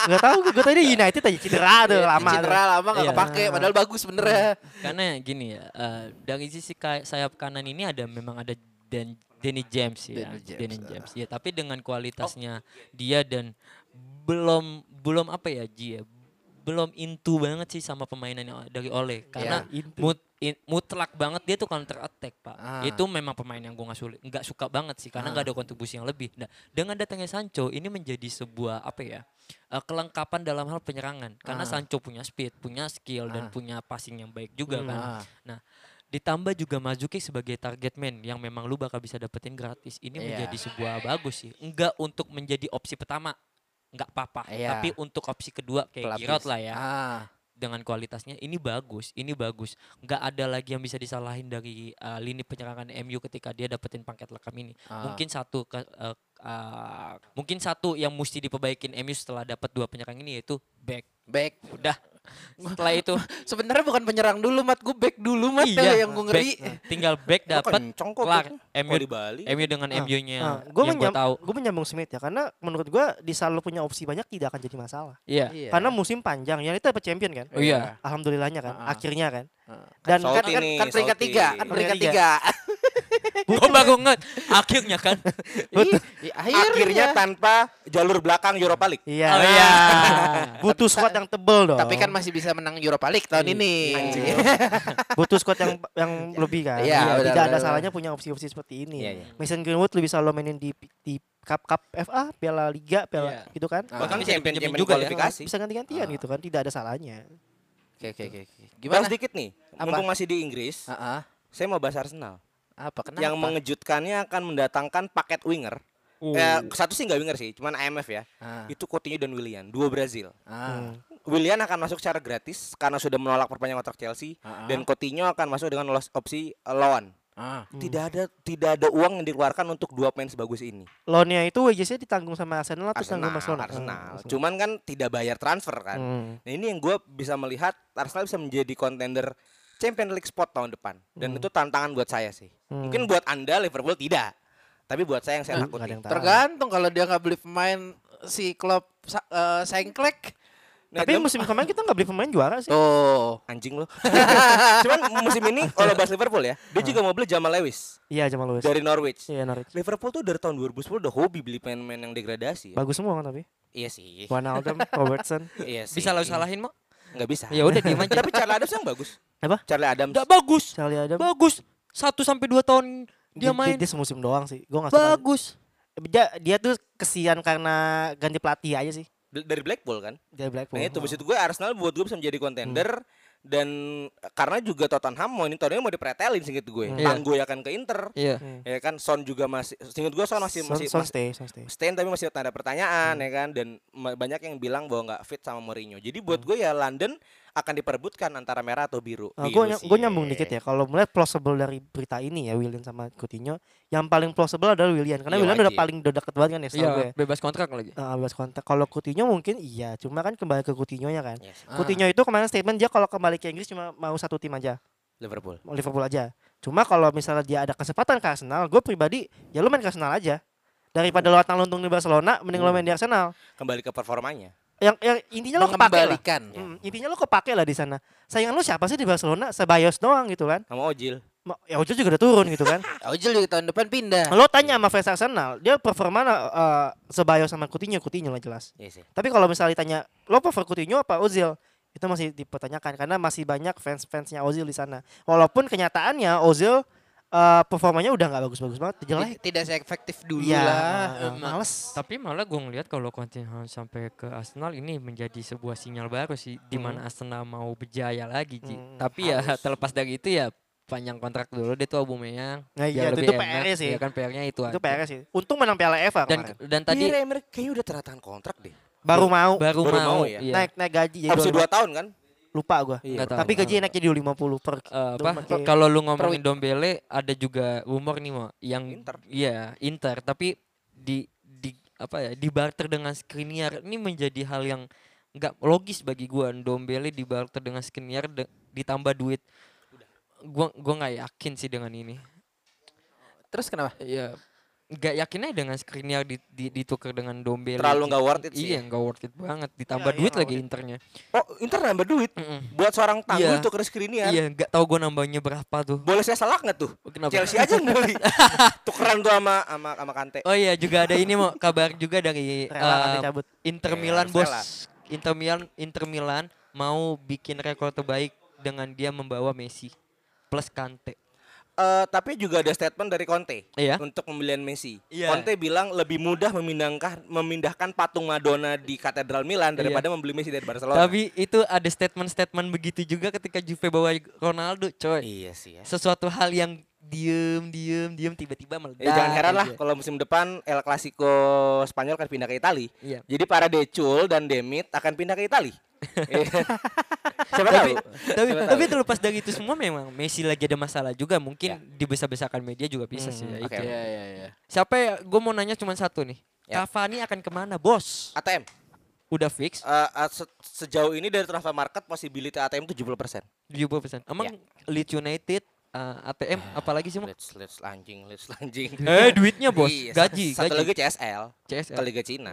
Gak tau gue tadi United aja cedera tuh lama. tuh.
Iya, Cedera lama nggak
Iya.
kepake padahal bagus bener
Karena gini ya, eh, dari sisi ka- sayap kanan ini ada memang ada Dan Danny James ya,
Danny James,
Danny
ah.
James. Ya, tapi dengan kualitasnya dia dan belum belum apa ya, Ji ya, belum intu banget sih sama permainan yang dari
Iya,
Oleh karena mut- in- mutlak banget dia tuh counter attack, Pak.
Ah.
Itu memang pemain yang gue nggak sulit, nggak suka banget sih karena nggak ada kontribusi yang lebih. Nah, dengan datangnya Sancho ini menjadi sebuah apa ya? eh, kelengkapan dalam hal penyerangan karena
Ah.
Sancho punya speed, punya skill dan punya passing yang baik juga kan.
Ah.
Nah, ditambah juga Mazuki sebagai target man yang memang lu bakal bisa dapetin gratis.
Iya.
Ini menjadi sebuah bagus sih. Enggak untuk menjadi opsi pertama nggak apa-apa,
Iya.
tapi untuk opsi kedua kayak
Pelapis.
Giroud lah ya
Ah.
dengan kualitasnya ini bagus, ini bagus. Nggak ada lagi yang bisa disalahin dari uh, lini penyerangan MU ketika dia dapetin pangkat lekam ini.
Ah.
Mungkin satu ke- eh, ah, mungkin satu yang mesti diperbaikin MU setelah dapat dua penyerang ini yaitu back.
Back.
Udah. Setelah itu
Sebenarnya bukan penyerang dulu mat, gue back dulu mat
Iya,
yang gue ngeri.
back. tinggal back
kan
dapat
kenceng kok
kelar
backnya.
MU
Kalau di Bali.
MU dengan
Ah,
MU-nya
gue
yang gue Iya. tahu.
menyambung Smith ya karena menurut gue di Salo punya opsi banyak tidak akan jadi masalah.
Iya.
Iya.
Karena musim panjang, United dapat champion kan?
Oh iya.
Alhamdulillahnya kan,
Ah.
akhirnya kan.
Ah.
Dan
Salty
Kan,
kan
kan,
nih,
kan peringkat
salty.
tiga, kan peringkat tiga.
Gue baru nget. Akhirnya kan.
butuh,
Ih,
Akhirnya tanpa jalur belakang Europa League.
iya,
Oh iya.
<laughs> butuh squad yang tebel dong.
Tapi kan masih bisa menang Europa League tahun
Iya.
ini.
Anjing.
butuh squad yang yang lebih kan.
Iya,
Iya,
benar,
tidak ada
benar.
salahnya punya opsi-opsi seperti ini.
Iya, iya.
Mason Greenwood lebih bisa lo mainin di di cup cup FA, Piala Liga, Piala
Iya.
gitu kan.
Ah.
Bahkan
Bisa
champion
dipinjemin
champion
juga ya.
kualifikasi.
Bisa ganti-gantian
Ah.
gitu kan, tidak ada salahnya.
Oke oke oke. oke.
Bahas
Gimana?
dikit nih.
Apa?
Mumpung masih di Inggris,
Ah, ah.
saya mau bahas Arsenal.
Apa kenapa?
Yang mengejutkannya akan mendatangkan paket winger. Eh, satu sih nggak winger sih, cuman IMF ya.
Ah,
Itu Coutinho dan Willian, dua Brazil.
Hmm.
ah.
Willian akan masuk secara gratis karena sudah menolak perpanjangan kontrak Chelsea
Ah, ah.
dan Coutinho akan masuk dengan los- opsi eh, loan.
Ah.
Tidak ada tidak ada uang yang dikeluarkan untuk dua pemain sebagus ini.
Loan-nya itu wagesnya ditanggung sama Arsenal atau
Arsenal,
ditanggung Barcelona?
Arsenal.
Hmm,
Cuman kan tidak bayar transfer kan.
Hmm.
Nah ini yang gue bisa melihat Arsenal bisa menjadi kontender Champion League spot tahun depan.
Hmm.
Dan itu tantangan buat saya sih. Mungkin buat anda Liverpool tidak. Tapi buat saya yang
Eh,
saya
nggak ada
takuti.
yang tahu.
Tergantung kalau dia nggak beli pemain si klub sa- eh, sengklek.
Nah,
Tapi
dia-
musim kemarin kita nggak beli pemain juara sih.
Tuh.
<laughs> anjing lo. <laughs> Cuman musim ini kalau bahas Liverpool ya, dia juga mau beli Jamal Lewis
Iya Jamal Lewis.
dari Norwich.
Iya Norwich.
Liverpool tuh dari tahun 2010 udah hobi beli pemain-pemain yang degradasi. Ya.
Bagus semua kan tapi.
Iya sih.
Wijnaldum, Robertson.
Iya sih.
Bisa lo salahin mau?
Nggak bisa.
Ya udah diem aja.
Tapi Charlie Adams yang bagus.
Apa?
Charlie Adams.
Nggak bagus.
Charlie Adam.
Bagus. Satu sampai dua tahun dia main.
Dia, semusim doang sih. Gue nggak suka.
bagus.
Dia, dia tuh kesian karena ganti pelatih aja sih.
D- Dari Blackpool kan.
Dia Blackpool.
Nah itu maksud gue Arsenal buat gue bisa menjadi kontender dan eh, karena juga Tottenham mau ini tahunnya mau dipretelin singkat gue.
Hmm.
Hmm.
Iya.
akan ke Inter.
Iya.
Ya kan Son juga masih singkat gue Son masih
Son-
masih,
Son
masih
stay, Son stay.
Stain tapi masih tanda pertanyaan ya kan dan ma- banyak yang bilang bahwa nggak fit sama Mourinho. Jadi buat gue ya London akan diperebutkan antara merah atau biru.
gue
Biru sih.
nyambung dikit ya. Kalau melihat plausible dari berita ini ya Willian sama Coutinho, yang paling plausible adalah Willian karena
Iya,
Willian udah
wajib.
paling udah deket banget kan ya sama gue.
Iya, bebas kontrak lagi.
Nah, bebas kontak. Kalau Coutinho mungkin iya, cuma kan kembali ke Coutinho-nya kan.
Yes,
Ah.
Coutinho itu kemarin statement dia kalau kembali ke Inggris cuma mau satu tim aja.
Liverpool.
mau Liverpool aja. Cuma kalau misalnya dia ada kesempatan ke Arsenal, gue pribadi ya lu main ke Arsenal aja. Daripada lu atang luntung di Barcelona, mending
Hmm.
lu main di Arsenal.
Kembali ke performanya.
Yang, yang intinya lu kepake lah.
Mengembalikan.
ya.
Hmm, intinya lu kepake lah di sana. Saingan lu siapa sih di Barcelona? Sebayos doang gitu kan.
Sama Ojil.
Ma- Ya Ojo juga udah turun gitu
<laughs>
kan.
Ya, Ojil juga tahun depan pindah.
Lo tanya sama fans Arsenal, dia performa eh, Sebayos sama Coutinho, Coutinho lah jelas.
Iya sih.
Tapi kalau misalnya ditanya, lo prefer Coutinho apa Ozil? Itu masih dipertanyakan karena masih banyak fans-fansnya Ozil di sana. Walaupun kenyataannya Ozil eh, performanya udah nggak bagus-bagus banget, jelek.
Tid- Tidak seefektif dulu
Iya,
lah.
eh, males.
Tapi malah gue ngelihat kalau Coutinho sampai ke Arsenal ini menjadi sebuah sinyal baru sih di mana Arsenal mau berjaya lagi, Ji.
Hmm,
Tapi ya terlepas dari itu ya panjang kontrak dulu deh tuh Aubameyang.
Nah,
biar
iya, itu-
lebih
itu
enak.
PR-nya sih.
Ya kan PR-nya itu.
Itu
aja.
PR sih. Untung menang Piala FA
Dan
kemarin.
dan
Tadi
tadi
Iya, Remer kayaknya udah teratakan kontrak deh.
baru mau Nah,
baru,
baru
mau,
mau ya?
iya.
naik naik gaji jadi
Opsi
25.
dua tahun kan?
lupa gua.
Nggak tahu.
Tapi gaji naik jadi 250 per
Eh,
per-
apa
per-
kalau lu ngomongin Dombele ada juga rumor nih mau yang
Inter.
iya Inter tapi di di apa ya dibarter dengan Skriniar ini menjadi hal yang nggak logis bagi gua Dombele dibarter dengan Skriniar de- ditambah duit gua gua nggak yakin sih dengan ini
Terus kenapa?
ya nggak yakinnya dengan Skriniar di, di, ditukar dengan Dombele.
Terlalu nggak worth it sih. ya?
Iya nggak worth it banget. Ditambah
Iya, iya,
duit
nggak
lagi
worth it.
internya.
Oh, Inter nambah duit
Mm-mm.
buat seorang tangguh
Iya.
itu Chris Skriniar.
Iya nggak tahu gue nambahnya berapa tuh.
Boleh saya selak nggak tuh?
Kenapa?
Chelsea aja yang
<laughs>
beli. Tukeran tuh sama sama sama Kante.
Oh iya juga ada ini mau kabar juga dari
Rela kan
eh,
dicabut.
Inter
Iya,
Milan
harus
bos.
rela.
Inter Milan Inter Milan mau bikin rekor terbaik dengan dia membawa Messi plus Kante.
Eh, tapi juga ada statement dari Conte
Iya.
untuk pembelian Messi.
Iya.
Conte bilang lebih mudah memindahkan memindahkan patung Madonna di Katedral Milan
Iya.
daripada membeli Messi dari Barcelona.
Tapi itu ada statement-statement begitu juga ketika Juve bawa Ronaldo, coy.
iya sih ya.
Sesuatu hal yang diem diem diem tiba-tiba meledak. gitu.
Ya, jangan heran lah
aja.
kalau musim depan El Clasico Spanyol akan pindah ke Itali.
Iya.
Jadi para Decul dan Demit akan pindah
<laughs>
ke Itali. Iya. Siapa
tapi,
tahu? ya?
tapi,
Siapa
tapi
tahu? Ya.
terlepas dari itu semua memang Messi lagi ada masalah juga mungkin dibesar-besarkan media juga bisa sih ya,
Hmm, oke.
itu.
Iya, iya, iya.
Siapa ya? Gue mau nanya cuma satu nih.
Ya.
Cavani akan kemana, bos?
ATM
Udah fix,
eh, eh, se- sejauh ini dari transfer market possibility ATM 70%.
70%.
Ya.
Emang Leeds United, eh, ATM,
Nah,
apalagi sih? Mo?
Let's let's lanjing, let's lanjing.
<laughs> Eh, duitnya bos,
Iya, sa-
gaji,
Satu
gaji.
lagi CSL ke
CSL.
Liga Cina.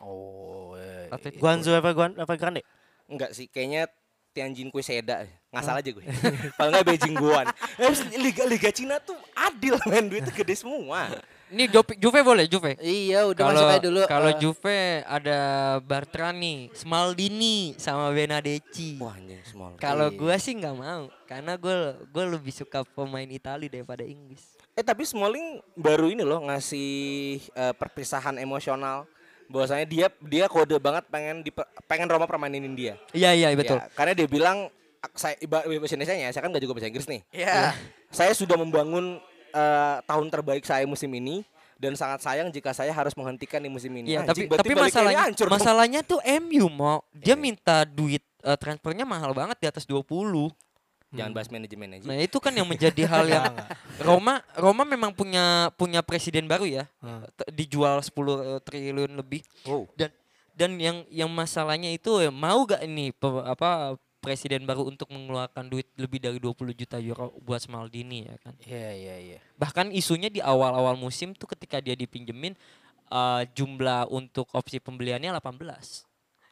Oh, eh,
Atletico.
Guangzhou apa Guan apa Grande?
Enggak sih, kayaknya Tianjin Kuiseda ngasal aja gue. <laughs> Kalau enggak Beijing Guan. Eh, Liga Liga Cina tuh adil main duitnya gede semua.
Ini Juve- Juve boleh, Juve.
Iya, udah
Kalau
masuk aja dulu.
kalau
eh,
Juve ada Bartrani, Smaldini sama Benadeci.
Wah, iya. anjing small.
Kalau gua sih nggak mau, karena gua gua lebih suka pemain Italia daripada Inggris.
Eh tapi Smalling baru ini loh ngasih eh, perpisahan emosional bahwasanya dia dia kode banget pengen di pengen Roma permanenin dia.
Iya iya betul.
Ya, karena dia bilang "Ak- saya iba- bahasa Indonesia saya kan gak juga bahasa Inggris nih. Ya. Saya sudah membangun eh, tahun terbaik saya musim ini dan sangat sayang jika saya harus menghentikan di musim ini.
Iya, tapi
Anjing, berarti
tapi
balikannya
masalahnya
hancur dong.
masalahnya tuh MU mau dia
Iya.
minta duit eh, transfernya mahal banget di atas 20.
<laughs> Jangan bahas manajemen aja.
Nah, itu kan yang menjadi hal yang Roma Roma memang punya punya presiden baru ya. T- Dijual 10 triliun lebih.
Wow.
Dan dan yang yang masalahnya itu ya, mau gak ini pe- apa presiden baru untuk mengeluarkan duit lebih dari 20 juta euro buat Smaldini ya kan.
Iya, iya, iya.
Bahkan isunya di awal-awal musim tuh ketika dia dipinjemin eh, jumlah untuk opsi pembeliannya 18.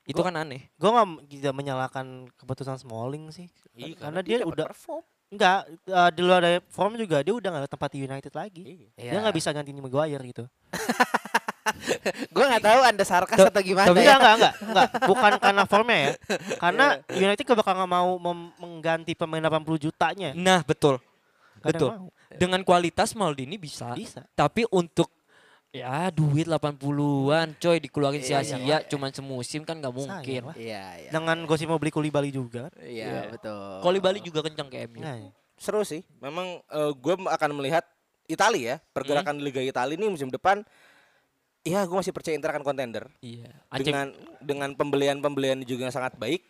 Itu kan aneh.
Gue nggak m- tidak menyalahkan keputusan Smalling sih,
Iya,
karena dia
dapat
udah
perform.
enggak eh, di luar dari form juga dia udah nggak ada tempat di United lagi.
Iya.
Dia nggak bisa gantiin Maguire gitu.
Gue nggak tahu anda sarkas atau gimana.
Tapi enggak,
ya.
enggak, enggak, enggak. Bukan karena formnya ya. Karena United gak bakal nggak mau mem- mengganti pemain 80 jutanya.
Nah, betul.
Nggak ada yang
Betul.
mau.
Dengan kualitas Maldini bisa.
Bisa.
Tapi untuk ya duit 80-an coy dikeluarin sia-sia cuman semusim kan nggak mungkin.
Iya, Sayang lah.
Iya, iya.
Dengan gosip mau beli Koulibaly juga kan.
Iya, betul.
Koli Bali juga kencang ke MU.
Nah,
Seru sih. Memang gue akan melihat Italia ya, pergerakan di Liga Italia ini musim depan Iya, gue masih percaya Inter akan kontender.
Iya. AC
dengan dengan pembelian-pembelian juga yang sangat baik.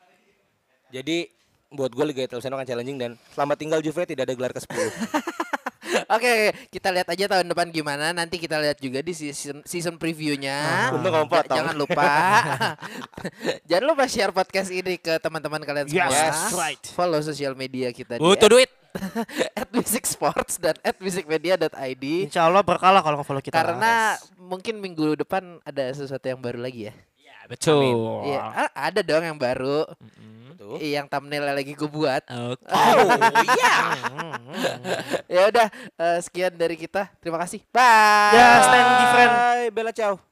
Jadi buat gue Liga Italia akan challenging dan selamat tinggal Juve tidak ada gelar
Oke,
ke-10.
<laughs> oke, kita lihat aja tahun depan gimana. Nanti kita lihat juga di season season previewnya.
Untung kamu
Ja-
potong.
Jangan lupa. <laughs> jangan lupa share podcast ini ke teman-teman kalian semua.
Yes, right.
Follow sosial media kita di
Butuh duit.
<laughs> at Music Sports dan at musicmedia.id.
insya Allah berkalah kalau nge-follow kita.
Karena mungkin minggu depan ada sesuatu yang baru lagi ya.
Ya, betul.
Iya, a- ada dong yang baru.
Tuh.
Iya, Yang thumbnail lagi gue buat.
Oke.
<laughs> ya udah, eh, sekian dari kita. Terima kasih. Bye.
Ya, stand different.
Hai, Bella ciao.